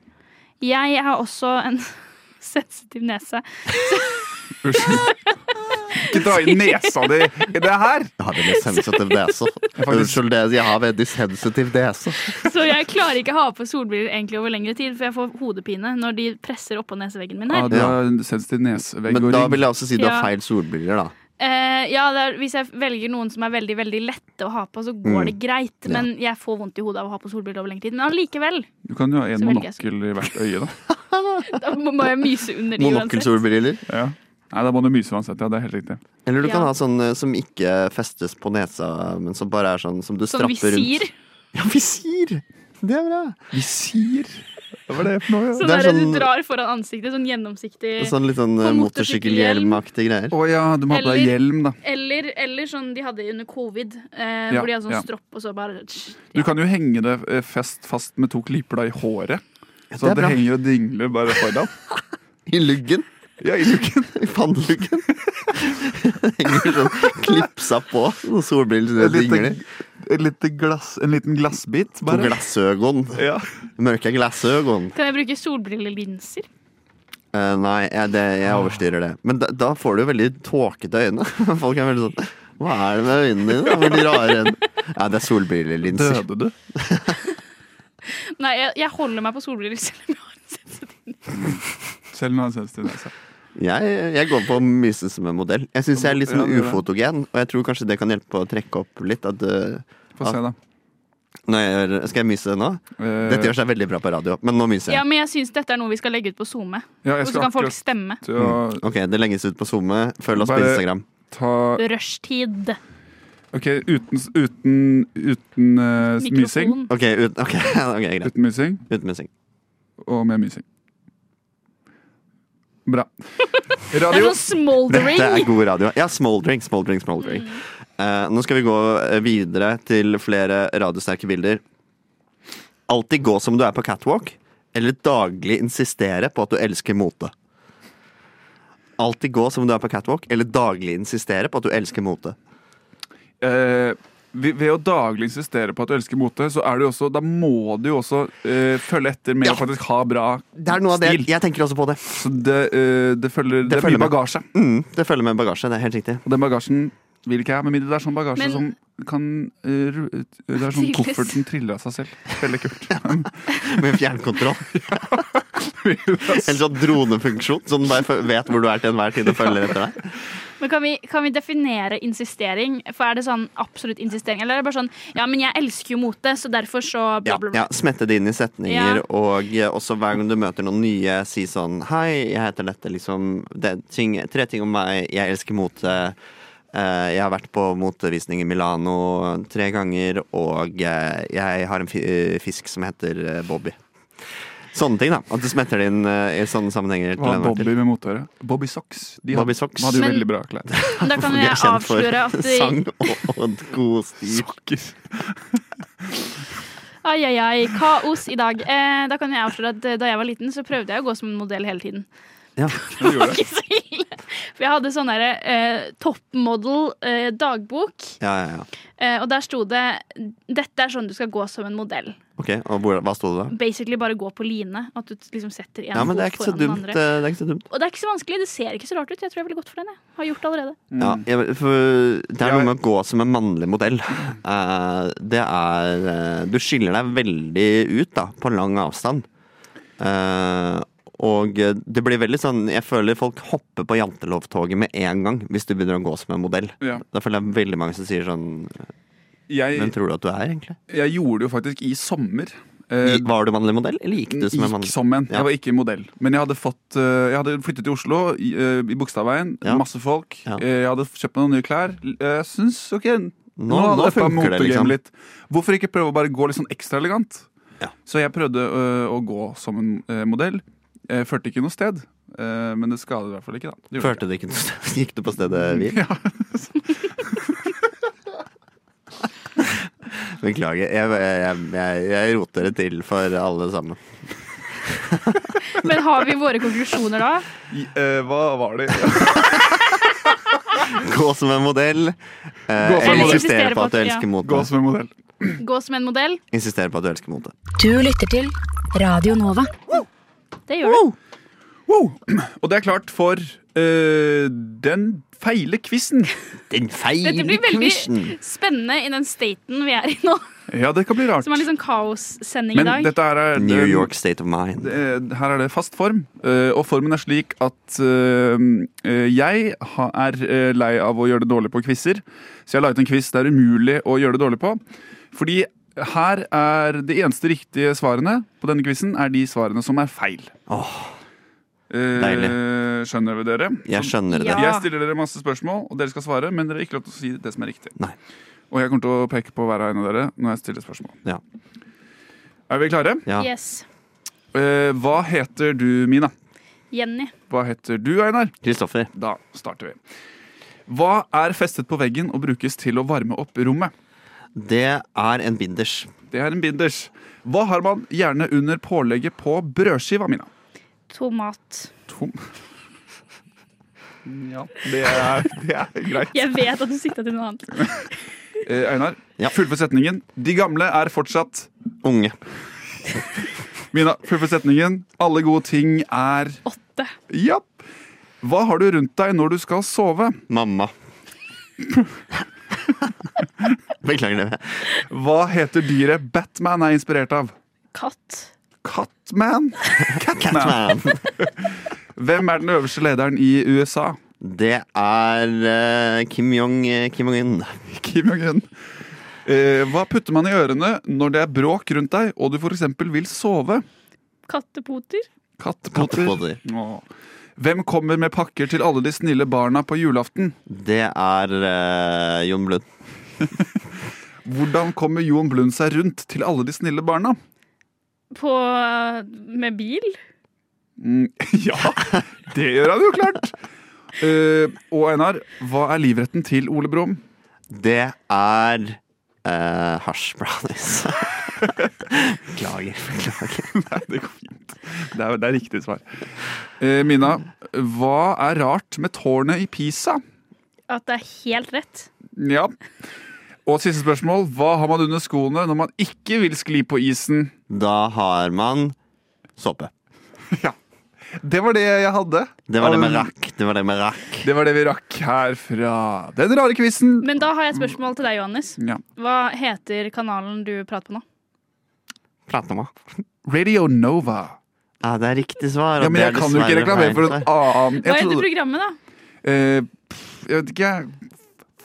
Speaker 3: jeg har også en sensitiv nese.
Speaker 5: Unnskyld. Ikke dra i nesa di i det her!
Speaker 4: Jeg har veldig sensitiv nese. Unnskyld, det, jeg har veldig sensitiv nese.
Speaker 3: Så jeg klarer ikke å ha på solbriller egentlig over lengre tid, for jeg får hodepine når de presser oppå neseveggen min
Speaker 4: Ah.
Speaker 5: Ja,
Speaker 3: her.
Speaker 5: du har en sensitiv nesevegg
Speaker 4: Men
Speaker 5: og
Speaker 4: da
Speaker 5: rygg.
Speaker 4: vil jeg også si du har
Speaker 3: Ja.
Speaker 4: feil solbriller, da.
Speaker 3: Eh, ja, det er, Hvis jeg velger noen som er veldig veldig lette å ha på, så går det greit.
Speaker 4: Mm. Ja.
Speaker 3: Men jeg får vondt i hodet av å ha på solbriller over lengre tid. Men allikevel,
Speaker 5: Du kan jo ha en
Speaker 3: Så velger jeg
Speaker 5: monokkel i hvert øye, da.
Speaker 3: da må må jeg myse under de uansett.
Speaker 4: Monokkelsolbriller.
Speaker 5: Ja. Nei, da må du myse uansett. Ja, det er helt riktig.
Speaker 4: Eller du kan
Speaker 3: Ja.
Speaker 4: ha sånn eh, som ikke festes på nesa, men som bare er sånn som du
Speaker 3: Sånn
Speaker 4: strapper
Speaker 3: visir.
Speaker 4: rundt. Ja, visir! Det er bra.
Speaker 5: Visir? Hva var det for noe? Ja?
Speaker 3: Sånn
Speaker 4: Det er
Speaker 3: der
Speaker 4: sånn-
Speaker 3: du drar foran ansiktet. Sånn gjennomsiktig.
Speaker 4: Sånn litt sånn eh,
Speaker 3: På motorsykkelhjelm.
Speaker 4: motorsykkelhjelmaktige greier.
Speaker 5: Å ja, du må ha på deg
Speaker 3: Eller-
Speaker 5: hjelm, da.
Speaker 3: Eller, eller sånn de hadde under covid, eh,
Speaker 5: Ja,
Speaker 3: hvor de hadde sånn
Speaker 5: ja.
Speaker 3: stropp og så bare
Speaker 5: Du kan jo henge det eh, fest fast med to klipper da i håret.
Speaker 4: det er
Speaker 5: Så det,
Speaker 4: bra.
Speaker 5: henger og dingler bare foran.
Speaker 4: I luggen.
Speaker 5: Ja, i luken.
Speaker 4: I panneluggen. Henger sånn klipsa på. Sånn solbriller
Speaker 5: En
Speaker 4: som dingler.
Speaker 5: liten, en liten glass, en liten glassbit,
Speaker 4: To
Speaker 5: bare.
Speaker 4: glassøgon.
Speaker 5: Ja.
Speaker 4: Mørke glassøgon.
Speaker 3: Kan jeg bruke solbrillelinser?
Speaker 4: Eh, nei, jeg, det, jeg overstyrer det. Men da, da får du jo veldig tåkete øyne. Folk er veldig sånn Hva er det med øynene dine? Veldig rare øyne. Ja, det er solbrillelinser.
Speaker 5: Døde du?
Speaker 3: Nei, jeg, jeg holder meg på solbriller selv om jeg har en sensitiv
Speaker 5: Selv når han sensitiv nese.
Speaker 4: Jeg, jeg går på å myse som en modell. Jeg syns jeg er litt sånn
Speaker 5: Ja, det er det.
Speaker 4: ufotogen, og jeg tror kanskje det kan hjelpe på å trekke opp litt. At, eh,
Speaker 5: Få se, da.
Speaker 4: når jeg gjør, skal jeg myse nå?
Speaker 5: Eh,
Speaker 4: Dette gjør seg veldig bra på radio, men nå myser
Speaker 3: Ja,
Speaker 4: jeg.
Speaker 3: men jeg syns dette er noe vi skal legge ut på SoMe.
Speaker 5: ja,
Speaker 3: Og
Speaker 5: jeg
Speaker 3: så
Speaker 5: skal
Speaker 3: kan folk
Speaker 5: akkurat
Speaker 3: stemme.
Speaker 5: til å
Speaker 4: Ok, det legges ut på SoMe. Følg oss på
Speaker 5: Bare-
Speaker 4: Instagram.
Speaker 5: ta
Speaker 3: Rushtid.
Speaker 5: Ok, uten, uten, uten eh, mysing.
Speaker 3: Mikrofon.
Speaker 4: Ok, ut, ok, ok, greit.
Speaker 5: Uten mysing
Speaker 4: Uten mysing.
Speaker 5: og med mysing. Bra.
Speaker 3: Det er
Speaker 5: Radio.
Speaker 3: sånn smoldering.
Speaker 4: Dette er god radio. Ja, smoldering, smoldering, smoldering. Eh, nå skal vi gå eh, videre til flere radiosterke bilder. Alltid gå som du er på catwalk, eller daglig insistere på at du elsker mote. Alltid gå som du er på catwalk, eller daglig insistere på at du elsker mote.
Speaker 5: Eh, ved, ved å daglig insistere på at du elsker mote, så er du jo også, da må du jo også eh, følge etter med
Speaker 4: Ja.
Speaker 5: å faktisk ha bra
Speaker 4: Det er noe av det.
Speaker 5: stil.
Speaker 4: Jeg tenker også på det.
Speaker 5: Så det, eh, det følger, det
Speaker 4: Det
Speaker 5: er
Speaker 4: følger
Speaker 5: mye
Speaker 4: med.
Speaker 5: bagasje.
Speaker 4: Mm, det følger med bagasje. Det er helt riktig.
Speaker 5: Og den bagasjen vil ikke jeg, med mindre det er sånn bagasje
Speaker 3: Men-
Speaker 5: som kan eh, ru- Det er sånn
Speaker 3: Trilles.
Speaker 5: kofferten triller av seg selv. Veldig kult.
Speaker 4: Med fjernkontroll. Eller sånn dronefunksjon, så den bare fø- vet hvor du er til enhver tid og følger etter deg.
Speaker 3: Men kan vi, kan vi definere insistering? For er det sånn absolutt insistering? Eller er det bare sånn ja, men jeg elsker jo mote, så derfor så
Speaker 4: Ja,
Speaker 3: bla, bla, bla.
Speaker 4: ja, Smette det inn i setninger,
Speaker 3: Ja.
Speaker 4: og eh, også hver gang du møter noen nye, si sånn Hei, jeg heter Lette, liksom. Det er ting, tre ting om meg. Jeg elsker mote. eh, Jeg har vært på motevisning i Milano tre ganger, og eh, jeg har en fi- eh, fisk som heter eh, Bobby. Sånne ting, da. At du smetter det inn eh, i sånne sammenhenger. til
Speaker 5: Hva har
Speaker 4: enhver tid.
Speaker 5: Bobby med mote å gjøre? Bobby Socks. De
Speaker 4: Bobby
Speaker 5: hadde,
Speaker 4: Socks.
Speaker 5: hadde jo
Speaker 3: Men-
Speaker 5: veldig bra klær.
Speaker 3: Men Da kan
Speaker 4: De
Speaker 3: jeg
Speaker 4: er kjent for
Speaker 3: avsløre at de,
Speaker 4: sang og, og god stil.
Speaker 5: Sokker.
Speaker 3: Ai, ai, ai. Kaos i dag. Eh, da kan jeg avsløre at eh, da jeg var liten, så prøvde jeg å gå som en modell hele tiden.
Speaker 4: Ja.
Speaker 5: De gjorde det.
Speaker 3: Ikke så ille. For jeg hadde sånn derre eh, toppmodell-dagbok,
Speaker 4: Ja, ja, ja.
Speaker 3: eh, og der sto det 'Dette er sånn du skal gå som en modell'.
Speaker 4: Ok, og hvor, Hva sto det da?
Speaker 3: Basically bare gå på line. At du liksom setter en
Speaker 4: Ja, men
Speaker 3: fot
Speaker 4: det er ikke så
Speaker 3: foran den
Speaker 4: dumt.
Speaker 3: andre.
Speaker 4: eh, Det er ikke så dumt.
Speaker 3: Og det er ikke så vanskelig. Det ser ikke så rart ut. Jeg tror jeg ville gått for den. jeg Har gjort det allerede.
Speaker 4: Ja, jeg, for det er
Speaker 5: Jeg-
Speaker 4: noe med å gå som en mannlig modell. Eh, det er eh, Du skiller deg veldig ut, da, på lang avstand. Eh, og eh, det blir veldig sånn Jeg føler folk hopper på jantelovtoget med en gang hvis du begynner å gå som en modell.
Speaker 5: Ja.
Speaker 4: Da føler jeg veldig mange som sier sånn Hvem
Speaker 5: Jeg,
Speaker 4: tror du at du er, egentlig?
Speaker 5: jeg gjorde det jo faktisk i sommer. Eh,
Speaker 4: Gi- Var du mannlig modell, eller gikk du som en
Speaker 5: Gikk
Speaker 4: mannlig
Speaker 5: som en.
Speaker 4: Ja.
Speaker 5: Jeg var ikke modell. Men jeg hadde, fått, eh, jeg hadde flyttet til Oslo, i, eh, i Bogstadveien.
Speaker 4: Ja.
Speaker 5: Masse folk.
Speaker 4: Ja.
Speaker 5: Eh, Jeg hadde kjøpt meg noen nye klær. Jeg syns ok, nå,
Speaker 4: nå
Speaker 5: hadde dette
Speaker 4: funker det,
Speaker 5: motegame
Speaker 4: liksom.
Speaker 5: litt. Hvorfor ikke prøve å bare gå litt sånn ekstra elegant?
Speaker 4: Ja.
Speaker 5: Så jeg prøvde eh, å gå som en eh, modell. Jeg førte ikke noe sted, eh, men det skader i hvert fall ikke. da Det gjorde
Speaker 4: Førte det ikke noe sted? Gikk du på stedet hvil? Beklager. Jeg, jeg, jeg, jeg roter det til for alle sammen.
Speaker 3: Men har vi våre konklusjoner da?
Speaker 5: ikke. I- eh, Hva var det?
Speaker 4: Gå som en modell. Eh,
Speaker 5: Gå som en
Speaker 4: eller
Speaker 5: modell.
Speaker 4: insistere på at du
Speaker 3: Ja.
Speaker 4: elsker mote.
Speaker 5: Gå som en modell.
Speaker 3: Gå som en modell?
Speaker 4: Insistere på at du elsker mote.
Speaker 8: Du lytter til Radio Nova.
Speaker 3: Det gjør du.
Speaker 5: Wow. Og det er klart for eh, den feile quizen.
Speaker 4: Den feile
Speaker 3: Dette blir veldig spennende i den staten vi er i nå.
Speaker 5: Ja, det kan bli rart.
Speaker 3: Som er litt sånn kaossending i
Speaker 5: Men
Speaker 3: dag.
Speaker 5: dette her er
Speaker 4: New York state of mind.
Speaker 5: Det er- her er det fast form, eh, og formen er slik at eh, eh, jeg ha- er eh, lei av å gjøre det dårlig på quizer, så jeg har laget en quiz det er umulig å gjøre det dårlig på. Fordi her er de eneste riktige svarene på denne quizen, er de svarene som er feil.
Speaker 4: Åh,
Speaker 5: Eh,
Speaker 4: deilig.
Speaker 5: Skjønner vi dere?
Speaker 4: jeg
Speaker 5: Så-
Speaker 4: skjønner det.
Speaker 3: Ja.
Speaker 5: jeg stiller dere masse spørsmål, og dere skal svare, men dere har ikke lov til å si det som er riktig.
Speaker 4: Nei.
Speaker 5: Og jeg kommer til å peke på hver og en av dere når jeg stiller spørsmål.
Speaker 4: Ja.
Speaker 5: Er vi klare?
Speaker 4: Ja.
Speaker 3: Yes.
Speaker 5: Eh, hva heter du, Mina?
Speaker 3: Jenny.
Speaker 5: Hva heter du, Einar?
Speaker 4: Kristoffer.
Speaker 5: Da starter vi. Hva er festet på veggen og brukes til å varme opp rommet?
Speaker 4: Det er en binders.
Speaker 5: Det er en binders. Hva har man gjerne under pålegget på brødskiva, Mina?
Speaker 3: Tomat.
Speaker 5: Tom. Ja, det er, det er greit.
Speaker 3: Jeg vet at du sikta til noe annet.
Speaker 5: Eh, Einar,
Speaker 4: Ja.
Speaker 5: fullfør setningen. De gamle er fortsatt
Speaker 4: Unge.
Speaker 5: Mina, fullfør setningen. Alle gode ting er
Speaker 3: Åtte.
Speaker 5: Ja. Hva har du rundt deg når du skal sove?
Speaker 4: Mamma. Beklager det.
Speaker 5: Hva heter dyret Batman er inspirert av?
Speaker 3: Katt.
Speaker 5: Catman?
Speaker 4: Catman.
Speaker 5: Hvem er den øverste lederen i USA?
Speaker 4: Det er eh, Kim Jong Kim Jong Un.
Speaker 5: Kim Jong-un. Eh, hva putter man i ørene når det er bråk rundt deg, og du f.eks. vil sove?
Speaker 3: Kattepoter.
Speaker 5: Kattepoter.
Speaker 4: Kattepoter.
Speaker 5: Åh. Hvem kommer med pakker til alle de snille barna på julaften?
Speaker 4: Det er eh, Jon Blund.
Speaker 5: Hvordan kommer Jon Blund seg rundt til alle de snille barna?
Speaker 3: På med bil.
Speaker 5: Mm, ja, det gjør han jo klart! Eh, og Einar, hva er livretten til Ole Brumm?
Speaker 4: Det er uh, hasj brownies. beklager, beklager.
Speaker 5: Nei, det går fint. Det er, det er riktig svar. Eh, Mina, hva er rart med tårnet i Pisa?
Speaker 3: At det er helt rett.
Speaker 5: Ja. Og siste spørsmål. Hva har man under skoene når man ikke vil skli på isen?
Speaker 4: Da har man såpe.
Speaker 5: Det var det jeg hadde.
Speaker 4: Det var det med
Speaker 5: Av-
Speaker 4: rakk. Det var det med rakk.
Speaker 5: Det var det vi rakk her fra den rare quizen.
Speaker 3: Men da har jeg et spørsmål til deg, Johannes.
Speaker 5: Ja.
Speaker 3: Hva heter kanalen du prater på nå?
Speaker 4: Prate om det.
Speaker 5: Radio Nova.
Speaker 4: Ja, det er riktig svar. og
Speaker 5: Ja, men
Speaker 4: det
Speaker 5: jeg
Speaker 4: er
Speaker 5: kan jo ikke
Speaker 4: dessverre
Speaker 5: reklamere for
Speaker 4: feil
Speaker 5: en annen
Speaker 3: Hva
Speaker 5: jeg,
Speaker 3: heter
Speaker 5: trodde,
Speaker 3: programmet, da?
Speaker 5: Eh, pff, jeg vet ikke.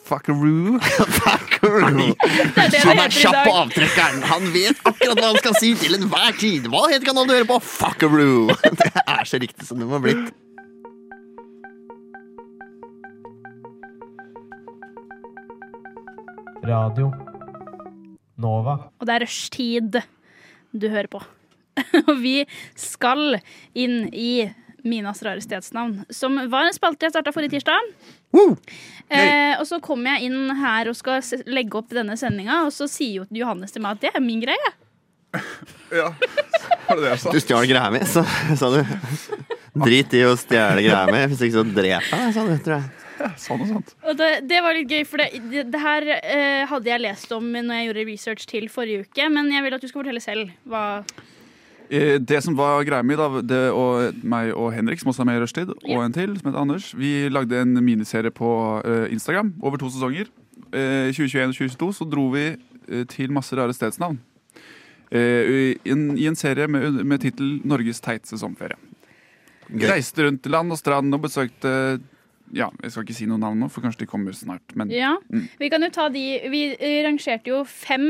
Speaker 5: Fuckaroo.
Speaker 4: svar.
Speaker 3: Det er det
Speaker 4: Han
Speaker 3: det
Speaker 4: er
Speaker 3: heter i
Speaker 4: kjapp på
Speaker 3: dag.
Speaker 4: avtrekkeren! Han vet akkurat hva han skal si til enhver tid! Hva heter kanalen du hører på? Fuckaroo! Det er så riktig som det må ha blitt.
Speaker 9: Radio Nova.
Speaker 3: Og det er rushtid du hører på. Og vi skal inn i Minas rare stedsnavn, som var en spalte jeg starta forrige tirsdag. Eh, og så kom jeg inn her og skal se- legge opp denne sendinga, og så sier jo Johannes til meg at det er min greie.
Speaker 5: Ja. Var det det jeg sa?
Speaker 4: Du stjal greia mi, sa, sa du. Drit i å stjele greia mi, hvis ikke så dreper jeg deg, sa du. Tror jeg.
Speaker 5: Sånn og sånt.
Speaker 3: Og det, det var litt gøy, for det, det, det her eh, hadde jeg lest om når jeg gjorde research til forrige uke, men jeg vil at du skal fortelle selv hva
Speaker 5: Eh, Det som var greia mi, da, det og meg og Henrik, som også er med i Rushtid, og en til, som heter Anders, vi lagde en miniserie på eh, Instagram over to sesonger. Eh, I 2021 og 2022 så dro vi eh, til masse rare stedsnavn. Eh, I en, i en serie med, med tittel 'Norges teit sesongferie'.
Speaker 4: Gøy.
Speaker 5: Reiste rundt land og strand og besøkte Ja, jeg skal ikke si noen navn nå, for kanskje de kommer snart. Men
Speaker 3: Ja. Vi kan jo ta de Vi eh, rangerte jo fem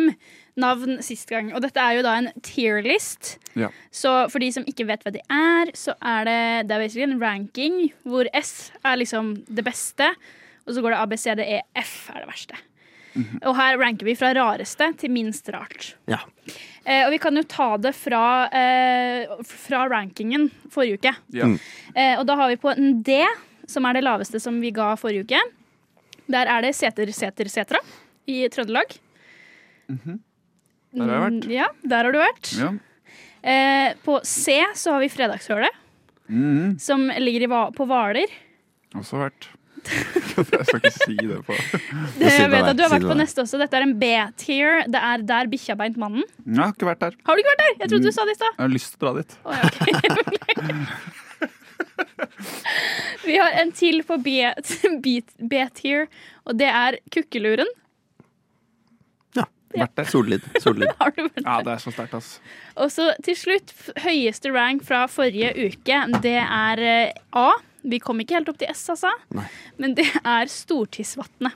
Speaker 3: navn sist gang, og dette er jo da en tierlist.
Speaker 5: Ja.
Speaker 3: Så for de som ikke vet hva de er, så er det Det er basically en ranking hvor S er liksom det beste, og så går det A, B, C, D, E, F er det verste. Og her ranker vi fra rareste til minst rart.
Speaker 4: Ja.
Speaker 3: Eh, og vi kan jo ta det fra, eh, fra rankingen forrige uke.
Speaker 5: Ja. Mm.
Speaker 3: Eh, og da har vi på en D, som er det laveste som vi ga forrige uke. Der er det Seter, Seter, Setra i Trøndelag.
Speaker 5: Der har jeg vært.
Speaker 3: Mm, Ja, der har du vært.
Speaker 5: ja.
Speaker 3: Eh, på C så har vi Fredagshølet, som ligger i, Va- på Hvaler.
Speaker 5: Også vært Jeg skal ikke si det på
Speaker 3: Det
Speaker 4: Si det
Speaker 3: jeg vet
Speaker 4: der,
Speaker 3: at du har
Speaker 4: si
Speaker 3: vært
Speaker 4: det
Speaker 3: på
Speaker 4: der.
Speaker 3: neste også. Dette er en B-tier. Det er Der bikkja beint mannen.
Speaker 5: Jeg har ikke vært der.
Speaker 3: Har du ikke vært der? Jeg trodde du sa det i stad.
Speaker 5: Jeg har lyst til å dra dit.
Speaker 3: Å, ja, ok. Beklager. Vi har en til på B- B- B-tier, og det er Kukkeluren.
Speaker 5: Vært der.
Speaker 4: Sollid. Sollid.
Speaker 3: Har du vært
Speaker 5: Ja,
Speaker 3: der?
Speaker 5: det er så sterkt, ass.
Speaker 3: Og så til slutt, f- høyeste rank fra forrige uke, det er eh, A. Vi kom ikke helt opp til S, altså.
Speaker 4: Nei.
Speaker 3: Men det er Stortidsvatnet.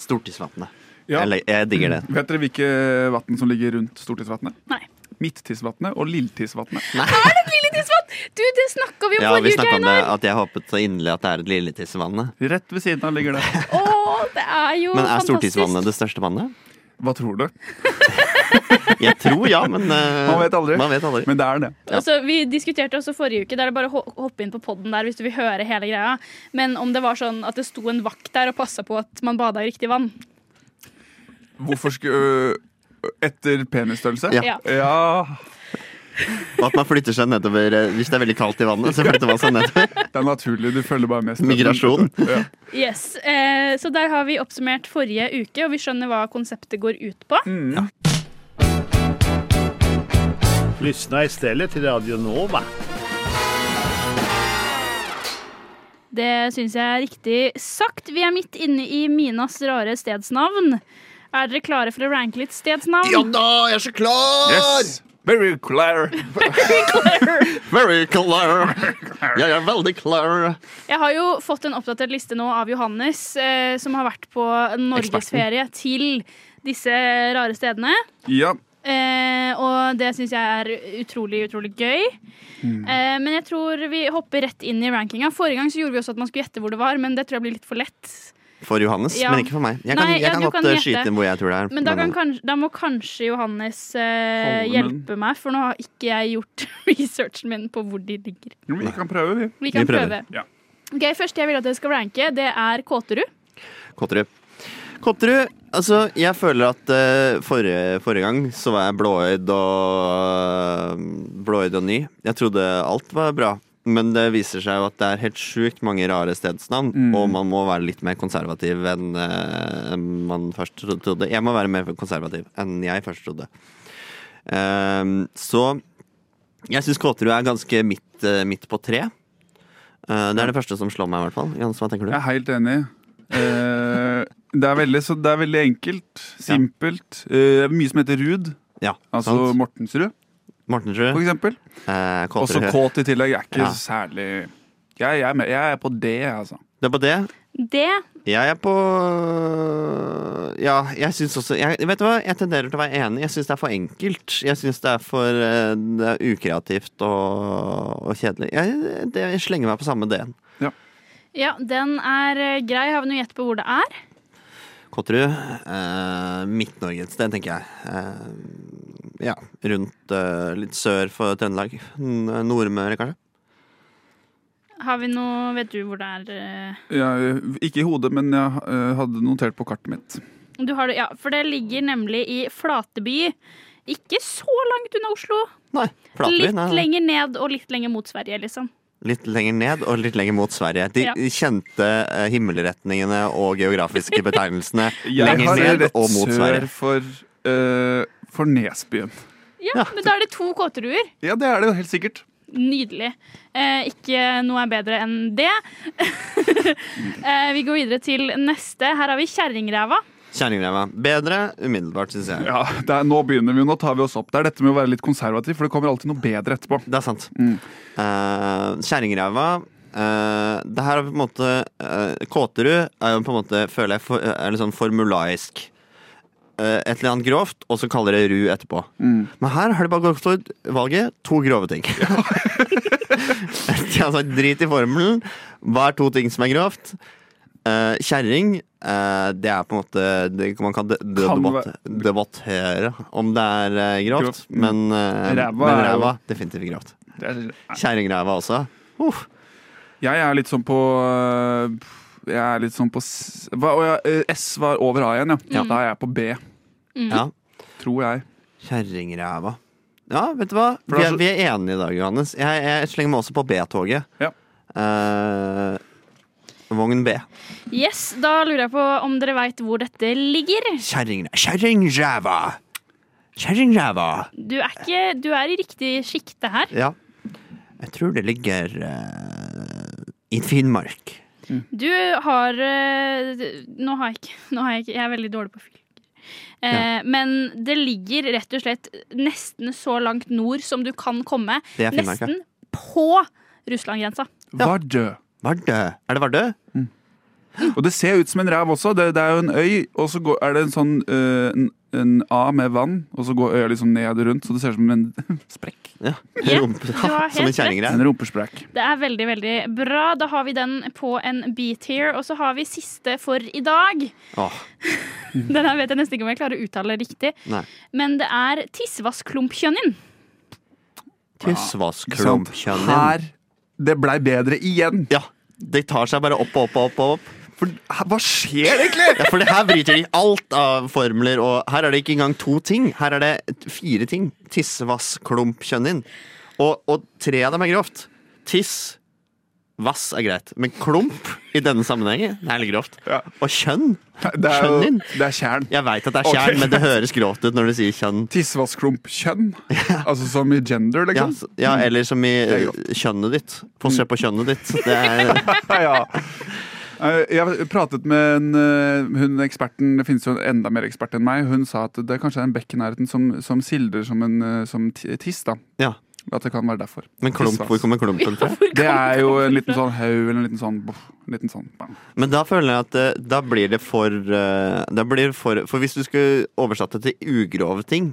Speaker 4: Stortingsvatnet.
Speaker 5: Ja.
Speaker 4: Jeg, jeg digger det.
Speaker 5: Vet dere hvilke vann som ligger rundt Stortidsvatnet?
Speaker 3: Nei.
Speaker 5: Midttissvatnet og Lilltissvatnet.
Speaker 3: Er det et lille tidsvann? Du, det snakka vi om
Speaker 4: Ja, vi
Speaker 3: forrige uke,
Speaker 4: snakka om det,
Speaker 3: Einar.
Speaker 4: at jeg håpet så inderlig at det er et lille tissevannet.
Speaker 5: Rett ved siden av ligger det.
Speaker 3: Å, det er jo
Speaker 4: Men er
Speaker 3: fantastisk.
Speaker 4: Stortingsvannet det største vannet?
Speaker 5: Hva tror du?
Speaker 4: Jeg tror ja, men eh,
Speaker 5: Man vet aldri.
Speaker 4: Man vet aldri.
Speaker 5: Men det er det.
Speaker 4: Ja.
Speaker 3: Og så Altså, vi diskuterte også forrige uke, der det er bare å ho- hoppe inn på podden der hvis du vil høre hele greia. Men om det var sånn at det sto en vakt der og passa på at man bada i riktig vann.
Speaker 5: Hvorfor skulle øh, Etter penisstørrelse?
Speaker 4: Ja.
Speaker 3: Ja.
Speaker 5: Ja,
Speaker 4: Og at man flytter seg nedover eh, hvis det er veldig kaldt i vannet. så flytter man seg nedover.
Speaker 5: Det er naturlig. Du følger bare med. strømmen.
Speaker 4: Migrasjon.
Speaker 5: Ja.
Speaker 3: Yes, eh, Så der har vi oppsummert forrige uke, og vi skjønner hva konseptet går ut på.
Speaker 4: Mm.
Speaker 10: Lyssna istället till Radio Nova.
Speaker 3: Det syns jeg er riktig sagt. Vi er midt inne i Minas rare stedsnavn. Er dere klare for å ranke litt stedsnavn?
Speaker 4: Ja da, jeg er så klar!
Speaker 5: Yes! Very clear.
Speaker 4: Very klar. Jeg er veldig klar.
Speaker 3: Jeg har jo fått en oppdatert liste nå av Johannes, eh, som har vært på norgesferie til disse rare stedene.
Speaker 5: Ja.
Speaker 3: Eh, og det syns jeg er utrolig, utrolig gøy. Eh, men jeg tror vi hopper rett inn i rankinga. Forrige gang så gjorde vi også at man skulle gjette hvor det var, men det tror jeg blir litt for lett.
Speaker 4: For Johannes,
Speaker 3: Ja.
Speaker 4: men ikke for meg. Jeg kan,
Speaker 3: Nei,
Speaker 4: jeg
Speaker 3: ja,
Speaker 4: kan
Speaker 3: du
Speaker 4: godt
Speaker 3: kan
Speaker 4: eh,
Speaker 3: gjette.
Speaker 4: skyte inn hvor jeg tror det er.
Speaker 3: Men da, kan,
Speaker 4: eh,
Speaker 3: kanskje, da må kanskje Johannes eh,
Speaker 5: Holde munn.
Speaker 3: hjelpe meg, for nå har ikke jeg gjort researchen min på hvor de ligger.
Speaker 5: Jo, Vi kan prøve, vi.
Speaker 3: Vi kan
Speaker 4: Vi prøver.
Speaker 3: prøve.
Speaker 5: Ja.
Speaker 3: Ok, Første jeg vil at dere skal ranke, det er Kåterud.
Speaker 4: Kotterud. Kotterud, altså, jeg føler at eh, forrige, forrige gang så eh, var jeg blåøyd og blåøyd og ny. Jeg trodde alt var bra. Men det viser seg jo at det er helt sjukt mange rare stedsnavn,
Speaker 5: Mm.
Speaker 4: og man må være litt mer konservativ enn eh, enn man først tro- trodde. Jeg må være mer konservativ enn jeg først trodde. Ehm, så jeg syns Kåterud er ganske midt, eh, midt på tre. Eh, det er det første som slår meg, i hvert fall. Jans, hva tenker du?
Speaker 5: Jeg er helt enig. Eh, det, er veldig, så det er veldig enkelt, simpelt. Eh, det er mye som heter Rud,
Speaker 4: Ja,
Speaker 5: altså
Speaker 4: sant?
Speaker 5: Mortensrud, for
Speaker 4: Mortensrud.
Speaker 5: eksempel.
Speaker 4: Eh,
Speaker 5: Også
Speaker 4: Kåterud.
Speaker 5: kåt i tillegg. Jeg er ikke
Speaker 4: Ja.
Speaker 5: særlig jeg, jeg, er med- jeg er på det, altså.
Speaker 4: Det er på det.
Speaker 3: Det
Speaker 4: Jeg er på øh, Ja, jeg syns også jeg, Vet du hva, jeg tenderer til å være enig. Jeg syns det er for enkelt. Jeg syns det er for eh, det er ukreativt og, og kjedelig. Jeg, det, jeg slenger meg på samme D-en.
Speaker 3: Ja, den er eh, grei. Har vi noe gjett på hvor det er?
Speaker 4: Kotterud. Eh, Midt-Norge et sted, tenker jeg. Eh, ja, rundt eh, litt sør for Trøndelag. N- Nordmøre, kanskje.
Speaker 3: Har vi noe Vet du hvor det er? eh?
Speaker 5: Jeg, ikke i hodet, men jeg eh, hadde notert på kartet mitt.
Speaker 3: Du har det, ja, for det ligger nemlig i Flateby. Ikke så langt unna Oslo.
Speaker 4: Nei, Flateby.
Speaker 3: litt
Speaker 4: nei, nei.
Speaker 3: lenger ned og litt lenger mot Sverige, liksom.
Speaker 4: Litt lenger ned og litt lenger mot Sverige. De
Speaker 3: Ja.
Speaker 4: kjente eh, himmelretningene og geografiske betegnelsene
Speaker 5: Jeg
Speaker 4: lenger
Speaker 5: har
Speaker 4: ned
Speaker 5: rett
Speaker 4: og mot Sverige.
Speaker 5: sør for, eh, for Nesbyen.
Speaker 3: Ja,
Speaker 4: Ja.
Speaker 3: Men da er det to kåteruer.
Speaker 5: Ja, det er det jo helt sikkert.
Speaker 3: Nydelig. Eh, ikke noe er bedre enn det. eh, vi går videre til neste. Her har vi Kjerringræva.
Speaker 4: Kjerringræva. Bedre umiddelbart, syns jeg.
Speaker 5: Ja, det er, Nå begynner vi, nå tar vi oss opp. Det er dette med å være litt konservativ, for det kommer alltid noe bedre etterpå.
Speaker 4: Det er sant.
Speaker 5: Mm.
Speaker 4: Eh, Kjerringræva eh, Det her er på en måte eh, Kåterud er jo på en måte, føler jeg, for, er litt sånn formulaisk. Eh, et eller annet grovt, og så kaller det ru etterpå.
Speaker 5: Mm.
Speaker 4: Men her har de bare gått for valget to grove ting. de har sagt drit i formelen. Hva er to ting som er grovt? Uh, Kjerring, eh, det er på en måte det, Man kan, de, de,
Speaker 5: Kan
Speaker 4: debatt,
Speaker 5: være-
Speaker 4: debattere om det er eh, grovt,
Speaker 5: Grovt. Mm.
Speaker 4: men, eh,
Speaker 5: Ræva
Speaker 4: men
Speaker 5: er jo-
Speaker 4: ræva definitivt grovt.
Speaker 5: Det er-
Speaker 4: Kjerringræva også. Uff.
Speaker 5: Jeg er litt sånn på øh, Jeg er litt sånn på S, hva, å ja, eh, S var over A igjen, ja. Da er jeg på B,
Speaker 4: Ja.
Speaker 5: tror jeg.
Speaker 4: Kjerringræva. Ja, vet du hva?
Speaker 5: For
Speaker 4: Vi
Speaker 5: det er
Speaker 4: er,
Speaker 5: så-
Speaker 4: vi er enige i dag, Johannes. Jeg, jeg slenger meg også på B-toget.
Speaker 5: Ja.
Speaker 4: Eh, vogn B.
Speaker 3: Yes, Da lurer jeg på om dere veit hvor dette ligger.
Speaker 4: Kjerringræ- Kjerringræva! Kjerringræva!
Speaker 3: Du er, ikke, du er i riktig sjikte her.
Speaker 4: Ja. Jeg tror det ligger eh, i Finnmark.
Speaker 3: Du har eh, d- Nå har jeg ikke, nå har jeg, ikke Jeg er veldig dårlig på fylker. Eh, Men det ligger rett og slett nesten så langt nord som du kan komme.
Speaker 4: Det er Finnmark, ja.
Speaker 3: Nesten på Russland-grensa.
Speaker 5: Vardø.
Speaker 4: Vardø. Er det Vardø?
Speaker 5: Og det ser ut som en ræv også. Det, det er jo en øy, og så går, er det en sånn øh, en, en A med vann, og så går øya liksom ned rundt, så det ser ut som en sprekk.
Speaker 4: Ja.
Speaker 3: Ja,
Speaker 4: Rump-
Speaker 3: du har
Speaker 4: Som en
Speaker 3: helt
Speaker 4: kjerringræv.
Speaker 5: En rumpesprekk.
Speaker 3: Det er veldig, veldig bra. Da har vi den på en beat-here. Og så har vi siste for i dag.
Speaker 4: Åh,
Speaker 3: Den her vet jeg nesten ikke om jeg klarer å uttale riktig.
Speaker 4: Nei.
Speaker 3: Men det er tissevassklumpkjønnin.
Speaker 4: Tysvassklumpkjønnen.
Speaker 5: Her Det blei bedre igjen.
Speaker 4: Ja. De tar seg bare opp og opp og opp. og opp.
Speaker 5: For hæ, hva skjer egentlig?
Speaker 4: Ja, for det her bryter de alt av formler, og her er det ikke engang to ting. Her er det fire ting. Tiss, vass, klump, kjønn inn. Og, og tre av dem er grovt. Tiss, vass er greit, men klump i denne sammenhengen det er litt grovt.
Speaker 5: Ja.
Speaker 4: Og kjønn
Speaker 5: Det er jo
Speaker 4: Skjønner.
Speaker 5: Det er tjern.
Speaker 4: Jeg veit at det er
Speaker 5: Ok.
Speaker 4: kjern, men det høres grovt ut når du sier kjønn.
Speaker 5: Tissevaskklump-kjønn. Altså som i gender,
Speaker 4: Ja,
Speaker 5: liksom.
Speaker 4: s- ja, eller som i
Speaker 5: Det er
Speaker 4: eh, kjønnet ditt. Få se på kjønnet ditt. Det er,
Speaker 5: ja. Eh, Jeg pratet med en, eh, hun eksperten, det finnes jo en enda mer ekspert enn meg, hun sa at det kanskje er en bekk i nærheten som, som sildrer som en eh, som ti- tiss, da.
Speaker 4: ja.
Speaker 5: At det kan være derfor.
Speaker 4: Men klump, hvor kommer klumpen fra?
Speaker 5: Det er jo en liten sånn haug eller en liten sånn, boff, en liten sånn bang.
Speaker 4: Men da føler jeg at eh, da blir det for eh, Da blir det for For hvis du skulle oversatt det til ugrove ting,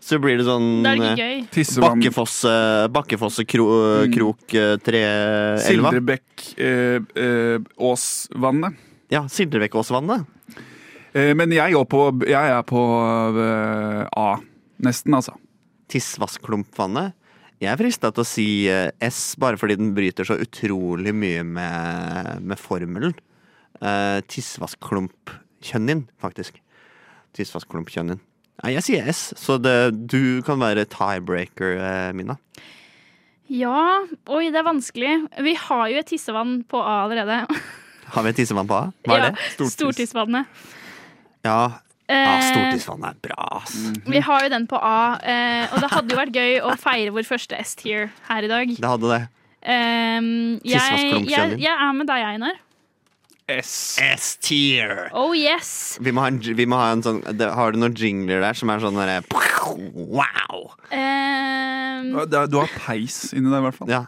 Speaker 4: så blir det sånn
Speaker 3: Da er det
Speaker 4: eh,
Speaker 3: ikke gøy.
Speaker 5: Tissevann,
Speaker 4: Bakkefosse, Bakkefossekrok mm. treelva.
Speaker 5: Sildrebekk, eh, eh, Åsvannet.
Speaker 4: Ja, Sildrebekkåsvannet.
Speaker 5: Eh, men jeg, går på, jeg er på eh, A. Nesten, altså.
Speaker 4: Tissvassklumpvannet. Jeg er frista til å si eh, S, bare fordi den bryter så utrolig mye med, med formelen. Uh, Tissvassklumpkjønnin, faktisk. Tissvassklumpkjønnin. Nei, jeg sier S, så det, du kan være tiebreaker, eh, Mina.
Speaker 3: Ja, oi, det er vanskelig. Vi har jo et tissevann på A allerede.
Speaker 4: Har vi et tissevann på A? Hva er
Speaker 3: Ja,
Speaker 4: det?
Speaker 3: Stortissvannet.
Speaker 4: Ja, ja
Speaker 3: Eh,
Speaker 4: stortingsvann er bra, ass.
Speaker 3: vi har jo den på A, eh, og det hadde jo vært gøy å feire vår første S-tier her i dag.
Speaker 4: Det hadde det.
Speaker 3: Ehm, jeg,
Speaker 4: Tissevannsklunkskjønning.
Speaker 3: jeg, jeg er med deg, Einar.
Speaker 4: Eh. S-tier!
Speaker 3: Oh yes!
Speaker 4: Vi må ha en, vi må ha en sånn det, Har du noen jingler der som er sånn derre Wow!
Speaker 3: Ehm,
Speaker 5: Du har- du har peis inni deg, i hvert fall.
Speaker 4: Ja.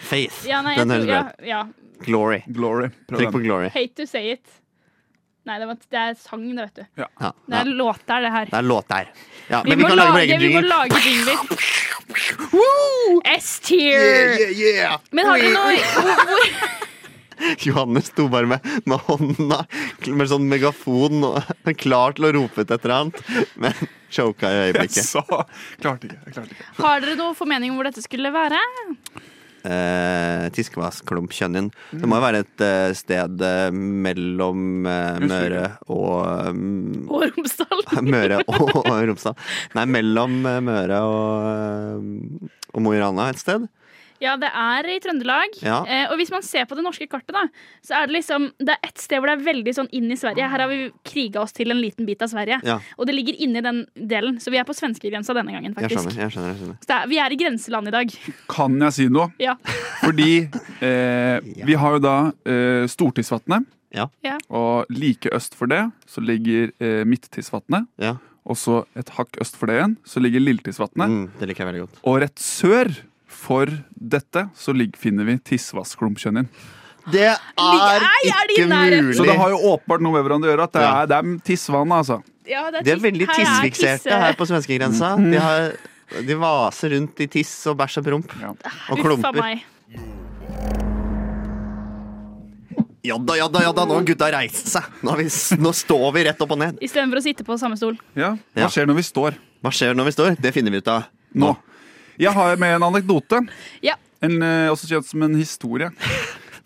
Speaker 4: Faith.
Speaker 3: ja, nei, jeg
Speaker 4: Den
Speaker 3: tror,
Speaker 4: høres bra
Speaker 3: ja,
Speaker 4: ut.
Speaker 3: ja.
Speaker 4: Glory.
Speaker 5: Glory. Prøv
Speaker 4: Trykk på
Speaker 5: den.
Speaker 4: glory.
Speaker 3: Hate to say it. Nei, det, var, det er sang, det, vet du.
Speaker 4: Ja,
Speaker 3: Det er
Speaker 4: ja.
Speaker 3: låt der, det her.
Speaker 4: Det er låt der. Ja,
Speaker 3: Vi
Speaker 4: men vi
Speaker 3: må
Speaker 4: kan lage vår
Speaker 3: lage,
Speaker 4: egen
Speaker 3: vi må
Speaker 4: jingle.
Speaker 3: lage jingler. S-tier!
Speaker 4: yeah.
Speaker 3: Men har dere noe
Speaker 4: Johannes sto bare med, med hånda med sånn megafon og klar til å rope ut et eller annet, men choka i
Speaker 5: Jeg
Speaker 4: øyeblikket.
Speaker 5: sa Klarte ikke. Jeg klarte ikke.
Speaker 3: Har dere noe formening om hvor dette skulle være?
Speaker 4: Eh, Tiskevassklumpkjønnin. Det må jo være et eh, sted eh, mellom eh, Møre og mm,
Speaker 3: Og Romsdal?
Speaker 4: Møre og, og Romsdal. Nei, mellom eh, Møre og, eh, og Mo i Rana et sted.
Speaker 3: Ja, det er i Trøndelag.
Speaker 4: Ja.
Speaker 3: Eh, og hvis man ser på det norske kartet, da, så er det liksom Det er ett sted hvor det er veldig sånn inn i Sverige. Her har vi kriga oss til en liten bit av Sverige.
Speaker 4: Ja.
Speaker 3: Og det ligger inni den delen, så vi er på svenskegrensa denne gangen,
Speaker 4: Jeg
Speaker 3: faktisk.
Speaker 4: skjønner. jeg skjønner, jeg skjønner.
Speaker 3: Så det er, vi er i grenseland i dag.
Speaker 5: Kan jeg si noe?
Speaker 3: Ja.
Speaker 5: Fordi eh, vi har jo da eh, Stortidsvatnet,
Speaker 4: Ja.
Speaker 3: Ja.
Speaker 5: og like øst for det så ligger eh, Midttissvatnet.
Speaker 4: Ja.
Speaker 5: Og så et hakk øst for det igjen så ligger Lilltissvatnet.
Speaker 4: Mm, det liker jeg veldig godt.
Speaker 5: Og rett sør for dette så ligger, finner vi Tissvassklumpkjønnin.
Speaker 4: Det er
Speaker 3: Nei, er de i
Speaker 4: ikke
Speaker 3: nærheten?
Speaker 4: mulig!
Speaker 5: Så det har jo åpenbart noe med hverandre å gjøre. At det
Speaker 4: Ja.
Speaker 5: er, det er tissvannet, altså.
Speaker 3: Ja, det
Speaker 4: De er
Speaker 3: tiss-
Speaker 4: veldig
Speaker 3: her
Speaker 4: tissfikserte
Speaker 3: tisse-
Speaker 4: her på svenskegrensa. De, har- de vaser rundt i tiss og bæsj og promp.
Speaker 5: Ja.
Speaker 4: Og
Speaker 3: Uffa
Speaker 4: klumper.
Speaker 3: meg.
Speaker 4: Ja da, ja da, ja da, nå har gutta reist seg! Nå, har vi, s- nå står vi rett opp og ned.
Speaker 3: Istedenfor å sitte på samme stol.
Speaker 5: Ja.
Speaker 4: Ja.
Speaker 5: Hva skjer når vi står
Speaker 4: Hva skjer når vi står? Det finner vi ut av.
Speaker 5: nå? Jeg har med en anekdote.
Speaker 3: Ja.
Speaker 5: En, eh, også kjent som en historie.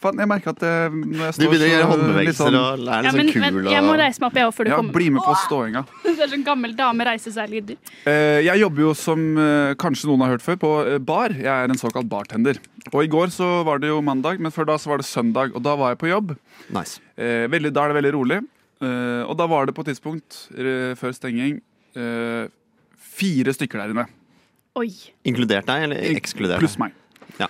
Speaker 5: Faen, jeg merker at eh, når jeg
Speaker 4: Du
Speaker 5: står
Speaker 4: begynner å
Speaker 5: så
Speaker 4: gjøre
Speaker 5: litt
Speaker 4: håndbevegelser
Speaker 5: sånn-
Speaker 4: og er litt
Speaker 3: ja, men,
Speaker 4: sånn
Speaker 3: men
Speaker 4: kul.
Speaker 3: jeg må
Speaker 4: Og...
Speaker 3: reise meg opp jeg, også før du
Speaker 5: Ja,
Speaker 3: kommer.
Speaker 5: bli med på ståinga.
Speaker 3: Det er sånn gammel dame reiser seg-lyder.
Speaker 5: Eh, Jeg jobber jo som eh, kanskje noen har hørt før, på eh, bar. Jeg er en såkalt bartender. Og i går så var det jo mandag, men før da så var det søndag, og da var jeg på jobb.
Speaker 4: Nice.
Speaker 5: Eh, Veldig, da er det veldig rolig. Eh, Og da var det på et tidspunkt eh, før stenging eh, fire stykker der inne.
Speaker 3: Oi.
Speaker 4: Inkludert deg, eller ekskludert?
Speaker 5: Pluss meg.
Speaker 4: Ja.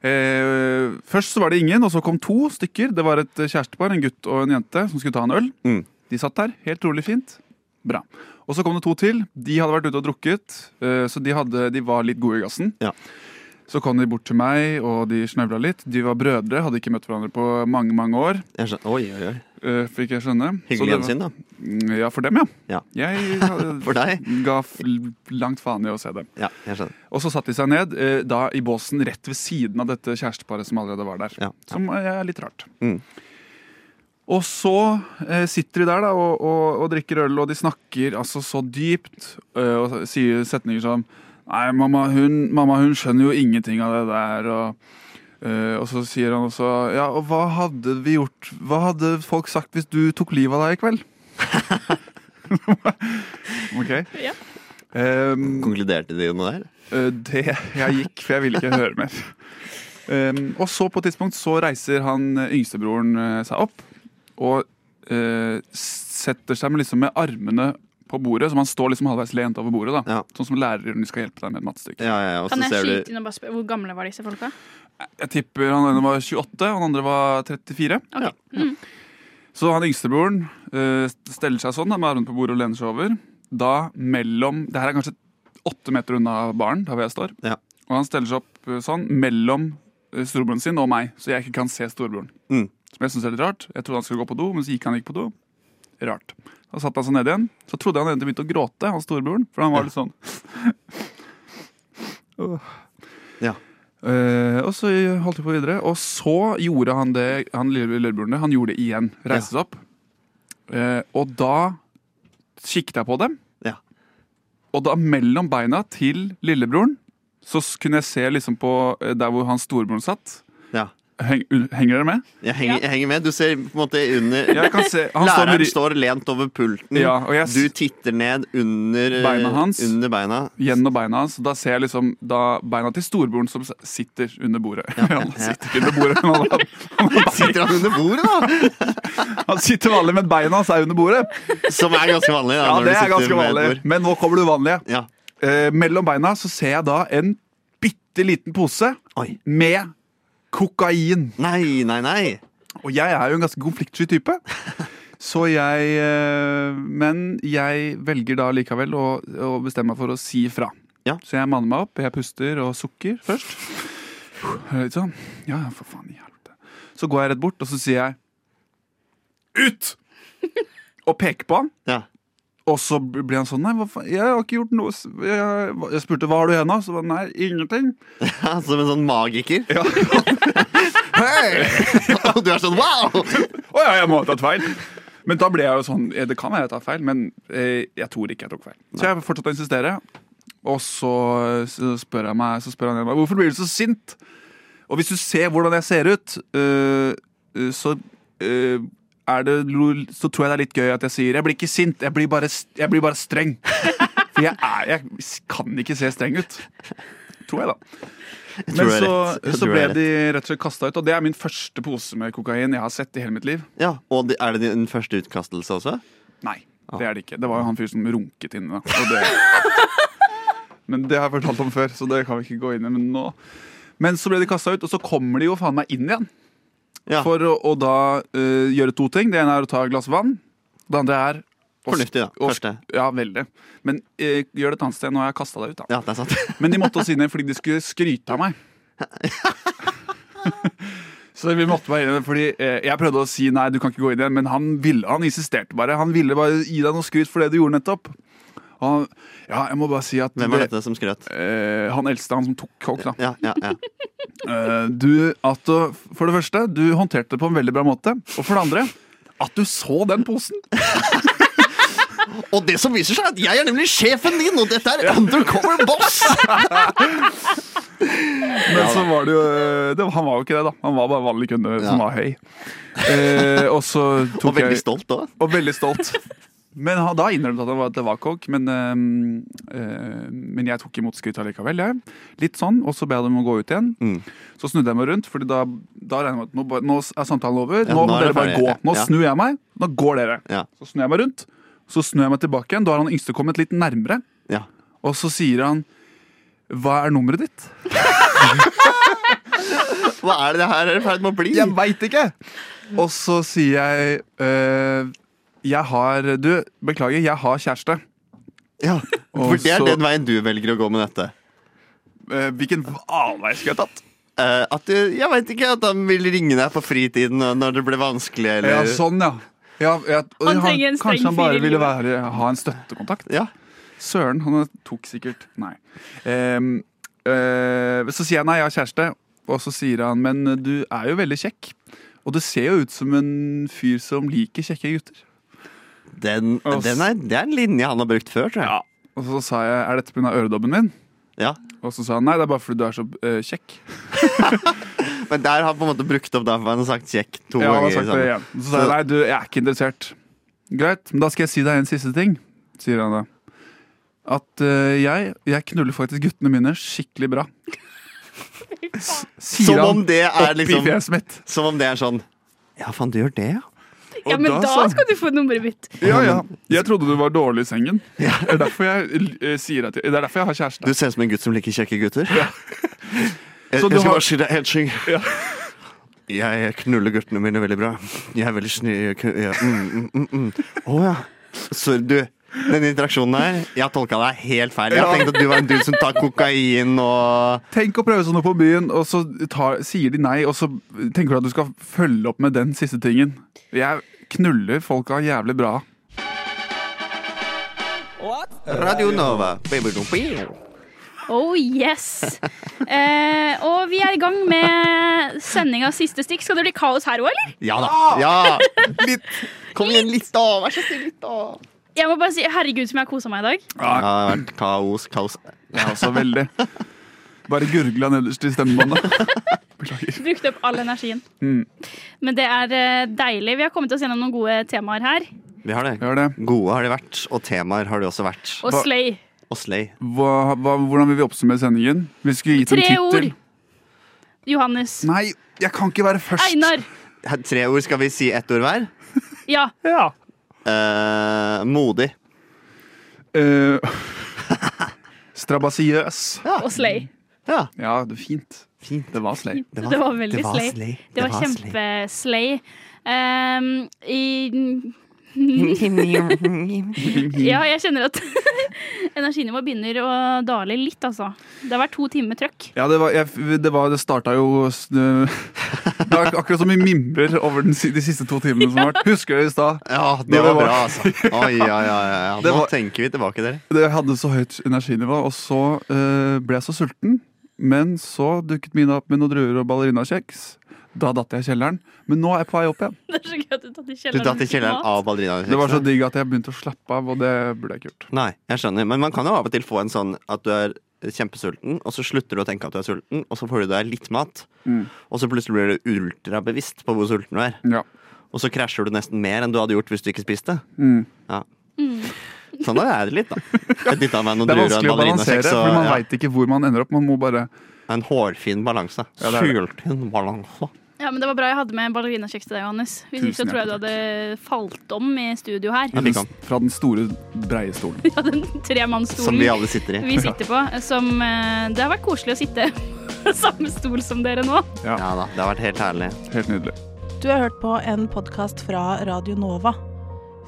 Speaker 5: Eh, først så var det ingen, og så kom to stykker. Det var et kjærestepar, en gutt og en jente, som skulle ta en øl.
Speaker 4: Mm.
Speaker 5: De satt der, helt rolig fint. Bra. Og så kom det to til. De hadde vært ute og drukket, eh, så de, hadde, de var litt gode i gassen.
Speaker 4: Ja.
Speaker 5: Så kom de bort til meg, og de snøvla litt. De var brødre, hadde ikke møtt hverandre på mange, mange år.
Speaker 4: Jeg skjønner- Oi, oi, oi.
Speaker 5: eh, fikk jeg skjønne. Så
Speaker 4: Hyggelig
Speaker 5: det var-
Speaker 4: gjensyn, da.
Speaker 5: Mm, Ja, for dem, ja.
Speaker 4: Ja.
Speaker 5: Jeg hadde-
Speaker 4: For deg.
Speaker 5: ga f langt faen i å se dem.
Speaker 4: Ja, jeg skjønner.
Speaker 5: Og så satte de seg ned eh, da i båsen rett ved siden av dette kjæresteparet som allerede var der.
Speaker 4: Ja, ja.
Speaker 5: Som eh, er litt rart.
Speaker 4: Mm.
Speaker 5: Og så eh, sitter de der da, og, og, og drikker øl, og de snakker altså så dypt eh, og sier setninger som Nei, mamma hun, mamma, hun skjønner jo ingenting av det der. Og, eh, og så sier han også Ja, og hva hadde vi gjort? Hva hadde folk sagt hvis du tok livet av deg i kveld? OK.
Speaker 3: Ja.
Speaker 5: Um,
Speaker 4: Konkluderte de noe der?
Speaker 5: Eh, Det jeg gikk, for jeg ville ikke høre mer. Um, og så på et tidspunkt så reiser han eh, yngstebroren eh, seg opp og eh, setter seg med, liksom, med armene på bordet, så man står liksom halvveis lent over bordet. da
Speaker 4: Ja.
Speaker 5: Sånn som lærere gjør når de skal hjelpe deg med et mattestykke.
Speaker 4: Ja, ja, ja. Og så
Speaker 3: Kan jeg
Speaker 4: ser
Speaker 3: skyte
Speaker 4: du
Speaker 3: inn og bare spørre hvor gamle var disse folka?
Speaker 5: Jeg tipper han ene var 28, og han andre var 34.
Speaker 3: Ok.
Speaker 5: Så han yngstebroren eh, steller seg sånn da, med armene på bordet og lener seg over. Da mellom Det her er kanskje åtte meter unna baren, der hvor jeg står.
Speaker 4: Ja.
Speaker 5: Og han steller seg opp eh, sånn mellom eh, storebroren sin og meg, så jeg ikke kan se storebroren.
Speaker 4: Mm.
Speaker 5: Som jeg synes er litt rart. Jeg trodde han skulle gå på do, men så gikk han ikke på do. Rart. Da satte han seg ned igjen. Så trodde han egentlig begynte å gråte, han storebroren, for han var litt sånn Åh.
Speaker 4: Ja.
Speaker 5: Eh, og så holdt vi på videre. Og så gjorde han det han lille lillebroren det, han gjorde det igjen. Reiste seg opp. Eh, og da kikket jeg på dem.
Speaker 4: Ja.
Speaker 5: Og da mellom beina til lillebroren så s- kunne jeg se liksom på eh, der hvor han storebroren satt.
Speaker 4: Ja.
Speaker 5: Heng, un- henger dere med?
Speaker 4: Jeg henger, jeg henger med. Du ser på en måte under
Speaker 5: Jeg kan se, han står med
Speaker 4: Læreren
Speaker 5: ry-
Speaker 4: står lent over pulten.
Speaker 5: Ja, og jeg s-
Speaker 4: Du titter ned under eh,
Speaker 5: Beina hans.
Speaker 4: Under beina.
Speaker 5: gjennom beina hans. Da ser jeg liksom da beina til storebroren som s- sitter under bordet. han sitter ikke under bordet, men han, han, han,
Speaker 4: Sitter han under bordet, da?
Speaker 5: han sitter vanlig, men beina hans er under bordet.
Speaker 4: Som er ganske vanlig. Da,
Speaker 5: Ja,
Speaker 4: når
Speaker 5: det
Speaker 4: du
Speaker 5: er
Speaker 4: sitter
Speaker 5: ganske
Speaker 4: ved et
Speaker 5: vanlig.
Speaker 4: bord.
Speaker 5: Men nå kommer det uvanlige.
Speaker 4: Ja.
Speaker 5: Eh, mellom beina så ser jeg da en bitte liten pose
Speaker 4: Oi.
Speaker 5: med kokain.
Speaker 4: Nei, nei, nei.
Speaker 5: Og jeg er jo en ganske konfliktsky type. Så jeg eh, Men jeg velger da likevel å, å bestemme meg for å si fra.
Speaker 4: Ja.
Speaker 5: Så jeg manner meg opp, jeg puster og sukker først. Litt sånn. Ja, ja, for faen i helvete. Så går jeg rett bort, og så sier jeg ut! Og peker på han.
Speaker 4: Ja.
Speaker 5: Og så blir han sånn Nei, hva faen? jeg har ikke gjort noe s- Jeg, jeg spurte hva har du i henda, så var han nei, ingenting.
Speaker 4: Ja, Som en sånn magiker. Hei! Og du er sånn wow!
Speaker 5: Å ja, jeg må ha tatt feil. Men da ble jeg jo sånn eh, Det kan være jeg tar feil, men eh, jeg tror ikke jeg tok feil. Så jeg fortsatte å insistere. Og så, så spør jeg meg Så spør han igjen meg hvorfor blir du så sint. Og hvis du ser hvordan jeg ser ut, eh, eh, så eh, er det, lo- så tror jeg det er litt gøy at jeg sier 'jeg blir ikke sint, jeg blir bare, s- jeg blir bare streng'. For jeg, er, jeg s- kan ikke se streng ut. Tror jeg, da.
Speaker 4: Jeg
Speaker 5: Men
Speaker 4: tror du
Speaker 5: så,
Speaker 4: har rett. Jeg
Speaker 5: så
Speaker 4: tror du
Speaker 5: ble
Speaker 4: har
Speaker 5: de rett og slett kasta ut. Og det er min første pose med kokain jeg har sett i hele mitt liv.
Speaker 4: Ja, Og de- er det din første utkastelse også?
Speaker 5: Nei,
Speaker 4: Ah.
Speaker 5: det er det ikke. Det var jo han fyren som runket inne. da, Og det... Men det har jeg fortalt om før, så det kan vi ikke gå inn i men nå. Men så ble de kasta ut, og så kommer de jo faen meg inn igjen.
Speaker 4: Ja.
Speaker 5: For å, å da eh, gjøre to ting. Det ene er å ta et glass vann. Det andre er å-
Speaker 4: Fornuftig, da.
Speaker 5: å-
Speaker 4: Første.
Speaker 5: Ja, veldig. Men eh, gjør det et annet sted. Nå har jeg kasta deg ut, da.
Speaker 4: Ja, det er sant.
Speaker 5: Men de måtte også inn igjen fordi de skulle skryte av meg. Så vi måtte bare inn igjen, fordi eh, Jeg prøvde å si nei, du kan ikke gå inn igjen, men han ville, han insisterte bare. Han ville bare gi deg noe skryt for det du gjorde nettopp. Og han, ja, jeg må bare si at
Speaker 4: Hvem var
Speaker 5: det-
Speaker 4: dette som skrøt?
Speaker 5: Eh, han eldste, han som tok coke, da.
Speaker 4: Ja, ja, ja.
Speaker 5: Eh, du, at du, for det første, du håndterte det på en veldig bra måte. Og for det andre, at du så den posen!
Speaker 4: Og det som viser seg, er at jeg er nemlig sjefen din, og dette er undercover boss!
Speaker 5: Men så var det jo eh, det, Han var jo ikke det, da. Han var bare vanlig kunde som
Speaker 4: Ja.
Speaker 5: var høy. Eh, og så
Speaker 4: Og
Speaker 5: tok
Speaker 4: veldig
Speaker 5: jeg
Speaker 4: stolt òg.
Speaker 5: Og veldig stolt. Men han, da innrømte han at det var- det var coke, men, øhm, øh, men jeg tok imot skrytet likevel. Jeg. Litt sånn, og så ba jeg dem om å gå ut igjen.
Speaker 4: Mm.
Speaker 5: Så snudde jeg meg rundt, Fordi da, da regner jeg med at nå, bare- nå er samtalen over.
Speaker 4: Ja, nå
Speaker 5: nå må
Speaker 4: er
Speaker 5: dere
Speaker 4: det
Speaker 5: bare
Speaker 4: ferdig.
Speaker 5: gå. Nå
Speaker 4: Ja.
Speaker 5: snur jeg meg, nå går dere.
Speaker 4: Ja.
Speaker 5: Så snur jeg meg rundt, så snur jeg meg tilbake igjen. Da har han yngste kommet litt nærmere,
Speaker 4: Ja.
Speaker 5: og så sier han Hva er nummeret ditt?
Speaker 4: Hva er det det her er i ferd med å bli?
Speaker 5: Jeg veit ikke! Og så sier jeg øh, Jeg har Du, beklager, jeg har kjæreste.
Speaker 4: Ja, For
Speaker 5: Og
Speaker 4: det er
Speaker 5: så-
Speaker 4: den veien du velger å gå med dette.
Speaker 5: Eh, Hvilken avvei skulle jeg tatt?
Speaker 4: Eh, at du, jeg veit ikke, at han vil ringe deg på fritiden og når det blir vanskelig,
Speaker 5: Ja,
Speaker 4: eller
Speaker 5: sånn, ja. ja, ja og
Speaker 3: Han trenger en streng
Speaker 5: Kanskje han
Speaker 3: fyr
Speaker 5: bare
Speaker 3: i
Speaker 5: ville
Speaker 3: livet.
Speaker 5: være, ha en støttekontakt.
Speaker 4: Ja.
Speaker 5: Søren, han tok sikkert Nei. Ehm, eh, så sier jeg nei, jeg har kjæreste. Og så sier han men du er jo veldig kjekk. Og du ser jo ut som en fyr som liker kjekke gutter.
Speaker 4: Den,
Speaker 5: Ass.
Speaker 4: den er, det er en linje han har brukt før, tror jeg.
Speaker 5: Og så sa jeg er dette pga. øredobben min?
Speaker 4: Ja.
Speaker 5: Og så sa han nei, det er bare fordi du er så eh, kjekk.
Speaker 4: Men der har han på en måte brukt opp derfor han har sagt kjekk to
Speaker 5: Ja, han har
Speaker 4: ganger. sånn.
Speaker 5: sagt det
Speaker 4: sammen.
Speaker 5: igjen. Så sa jeg nei, du, jeg er ikke interessert. Greit, men da skal jeg si deg en siste ting, sier han da. At eh, jeg, jeg knuller faktisk guttene mine skikkelig bra. S- Sier
Speaker 4: Som om
Speaker 5: han
Speaker 4: det er
Speaker 5: oppi
Speaker 4: liksom
Speaker 5: fjeset mitt.
Speaker 4: Som om det er sånn Ja, faen, du gjør det, ja.
Speaker 3: Ja, men
Speaker 5: da
Speaker 3: da
Speaker 5: sa-
Speaker 3: skal du få nummeret mitt.
Speaker 5: Ja, ja. Jeg trodde du var dårlig i sengen. Det er derfor jeg, eh, sier at jeg, det er derfor jeg har
Speaker 4: Du
Speaker 5: kjæreste.
Speaker 4: ser ut som en gutt som liker kjekke gutter. Jeg,
Speaker 5: Så du
Speaker 4: jeg skal
Speaker 5: har-
Speaker 4: bare si deg en ting. Jeg knuller guttene mine veldig bra. Jeg er veldig snill. jeg kun- ja, mm, mm, mm, mm. Å ja. Så du, den interaksjonen her, jeg har tolka deg helt feil. Jeg
Speaker 5: Ja.
Speaker 4: tenkte at du var en dude som tar kokain og
Speaker 5: Tenk å prøve sånn noe på byen, og så tar, sier de nei, og så tenker du at du skal følge opp med den siste tingen. Jeg knuller folka jævlig bra.
Speaker 4: Radio Nova. Baby-dum-bing.
Speaker 3: Oh yes! Eh, og vi er i gang med sending av Siste stikk. Skal det bli kaos her òg, eller?
Speaker 4: Ja da.
Speaker 5: Ah!
Speaker 4: Ja. Litt. Kom igjen, litt, da. Vær så snill, litt, da.
Speaker 3: Jeg må bare si, Herregud, som jeg har kosa meg i dag.
Speaker 4: Ja, det har vært kaos, kaos.
Speaker 5: Jeg også veldig. Bare gurgla nederst i stemmebåndet. Beklager.
Speaker 3: Du brukte opp all energien.
Speaker 5: Mm.
Speaker 3: Men det er eh, deilig. Vi har kommet oss gjennom noen gode temaer her.
Speaker 4: Vi har det.
Speaker 5: Gjør det.
Speaker 4: Gode har de vært, og temaer har de også vært.
Speaker 3: Og
Speaker 5: Hva-
Speaker 3: slay.
Speaker 4: Og Slay.
Speaker 5: Hva, hva, hvordan vil vi oppsummere sendingen? Vi skulle gitt en
Speaker 3: Tre
Speaker 5: tittel.
Speaker 3: ord. Johannes.
Speaker 5: Nei, jeg kan ikke være først.
Speaker 3: Einar.
Speaker 4: Her, Tre ord, skal vi si ett ord hver?
Speaker 3: Ja.
Speaker 10: Ja.
Speaker 4: Eh, modig.
Speaker 5: Eh, strabasiøs.
Speaker 3: Og slay.
Speaker 4: Ja,
Speaker 5: Ja, det er fint.
Speaker 4: fint.
Speaker 5: Det var slay.
Speaker 4: Det var,
Speaker 3: Det var veldig
Speaker 4: det var
Speaker 3: slay.
Speaker 4: slay.
Speaker 3: Det var kjempeslay.
Speaker 4: slay.
Speaker 3: Um, i, ja, jeg kjenner at energinivået begynner å dale litt, altså. Det har vært to timer trøkk.
Speaker 5: Ja, det var, jeg, det var Det starta jo s- Det det var akkurat som vi mimrer over den, si- de siste to timene som har vært. Husker dere i stad?
Speaker 4: Ja, det
Speaker 5: Når
Speaker 4: var
Speaker 5: vi var-
Speaker 4: bra, altså. Oi, ja, ja, ja, ja.
Speaker 5: Det
Speaker 4: Nå
Speaker 5: var-
Speaker 4: tenker vi tilbake, dere.
Speaker 5: Det hadde så høyt energinivå, og så eh, ble jeg så sulten. Men så dukket Mina opp med noen druer og ballerinakjeks. Da datt jeg i kjelleren. Men nå er jeg på vei opp igjen.
Speaker 3: Det er så gøy at du tatt i
Speaker 4: Du
Speaker 3: kjelleren.
Speaker 4: datt i kjelleren
Speaker 3: mat.
Speaker 4: av ballerinaen.
Speaker 5: Det var så digg at jeg begynte å slappe av, og det burde jeg ikke gjort.
Speaker 4: Nei, jeg skjønner. Men man kan jo av og til få en sånn at du er kjempesulten, og så slutter du å tenke at du er sulten, og så får du deg litt mat,
Speaker 5: Mm.
Speaker 4: og så plutselig blir du ultrabevisst på hvor sulten du er.
Speaker 5: Ja.
Speaker 4: Og så krasjer du nesten mer enn du hadde gjort hvis du ikke spiste.
Speaker 5: Mm.
Speaker 4: Sånn er det litt, da. Jeg dytta meg noen
Speaker 5: Det er
Speaker 4: druer og
Speaker 5: vanskelig
Speaker 4: en
Speaker 5: å balansere,
Speaker 4: ballerinasjeks
Speaker 5: for
Speaker 4: og
Speaker 5: man
Speaker 4: ja,
Speaker 5: veit ikke hvor man ender opp. Man må bare
Speaker 4: en hårfin balanse.
Speaker 5: Ja, det er det.
Speaker 4: Syltynn balanse.
Speaker 3: Ja, men Det var bra jeg hadde med ballerinakjeks til deg, Johannes. Hvis ikke så
Speaker 5: Tusen
Speaker 3: tror jeg du
Speaker 5: hjertelig
Speaker 3: hadde falt om i studio her.
Speaker 4: Ja, fikk han.
Speaker 5: Fra den store, breie stolen.
Speaker 3: Ja, den
Speaker 4: Som vi
Speaker 3: tremannsstolen
Speaker 4: alle sitter i.
Speaker 3: vi sitter på. Som eh, Det har vært koselig å sitte på samme stol som dere nå.
Speaker 4: Ja da, det har vært helt herlig.
Speaker 5: Helt nydelig.
Speaker 11: Du har hørt på en podkast fra Radio Nova.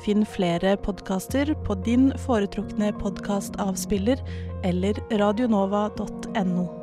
Speaker 11: Finn flere podkaster på din foretrukne podkastavspiller eller radionova.no.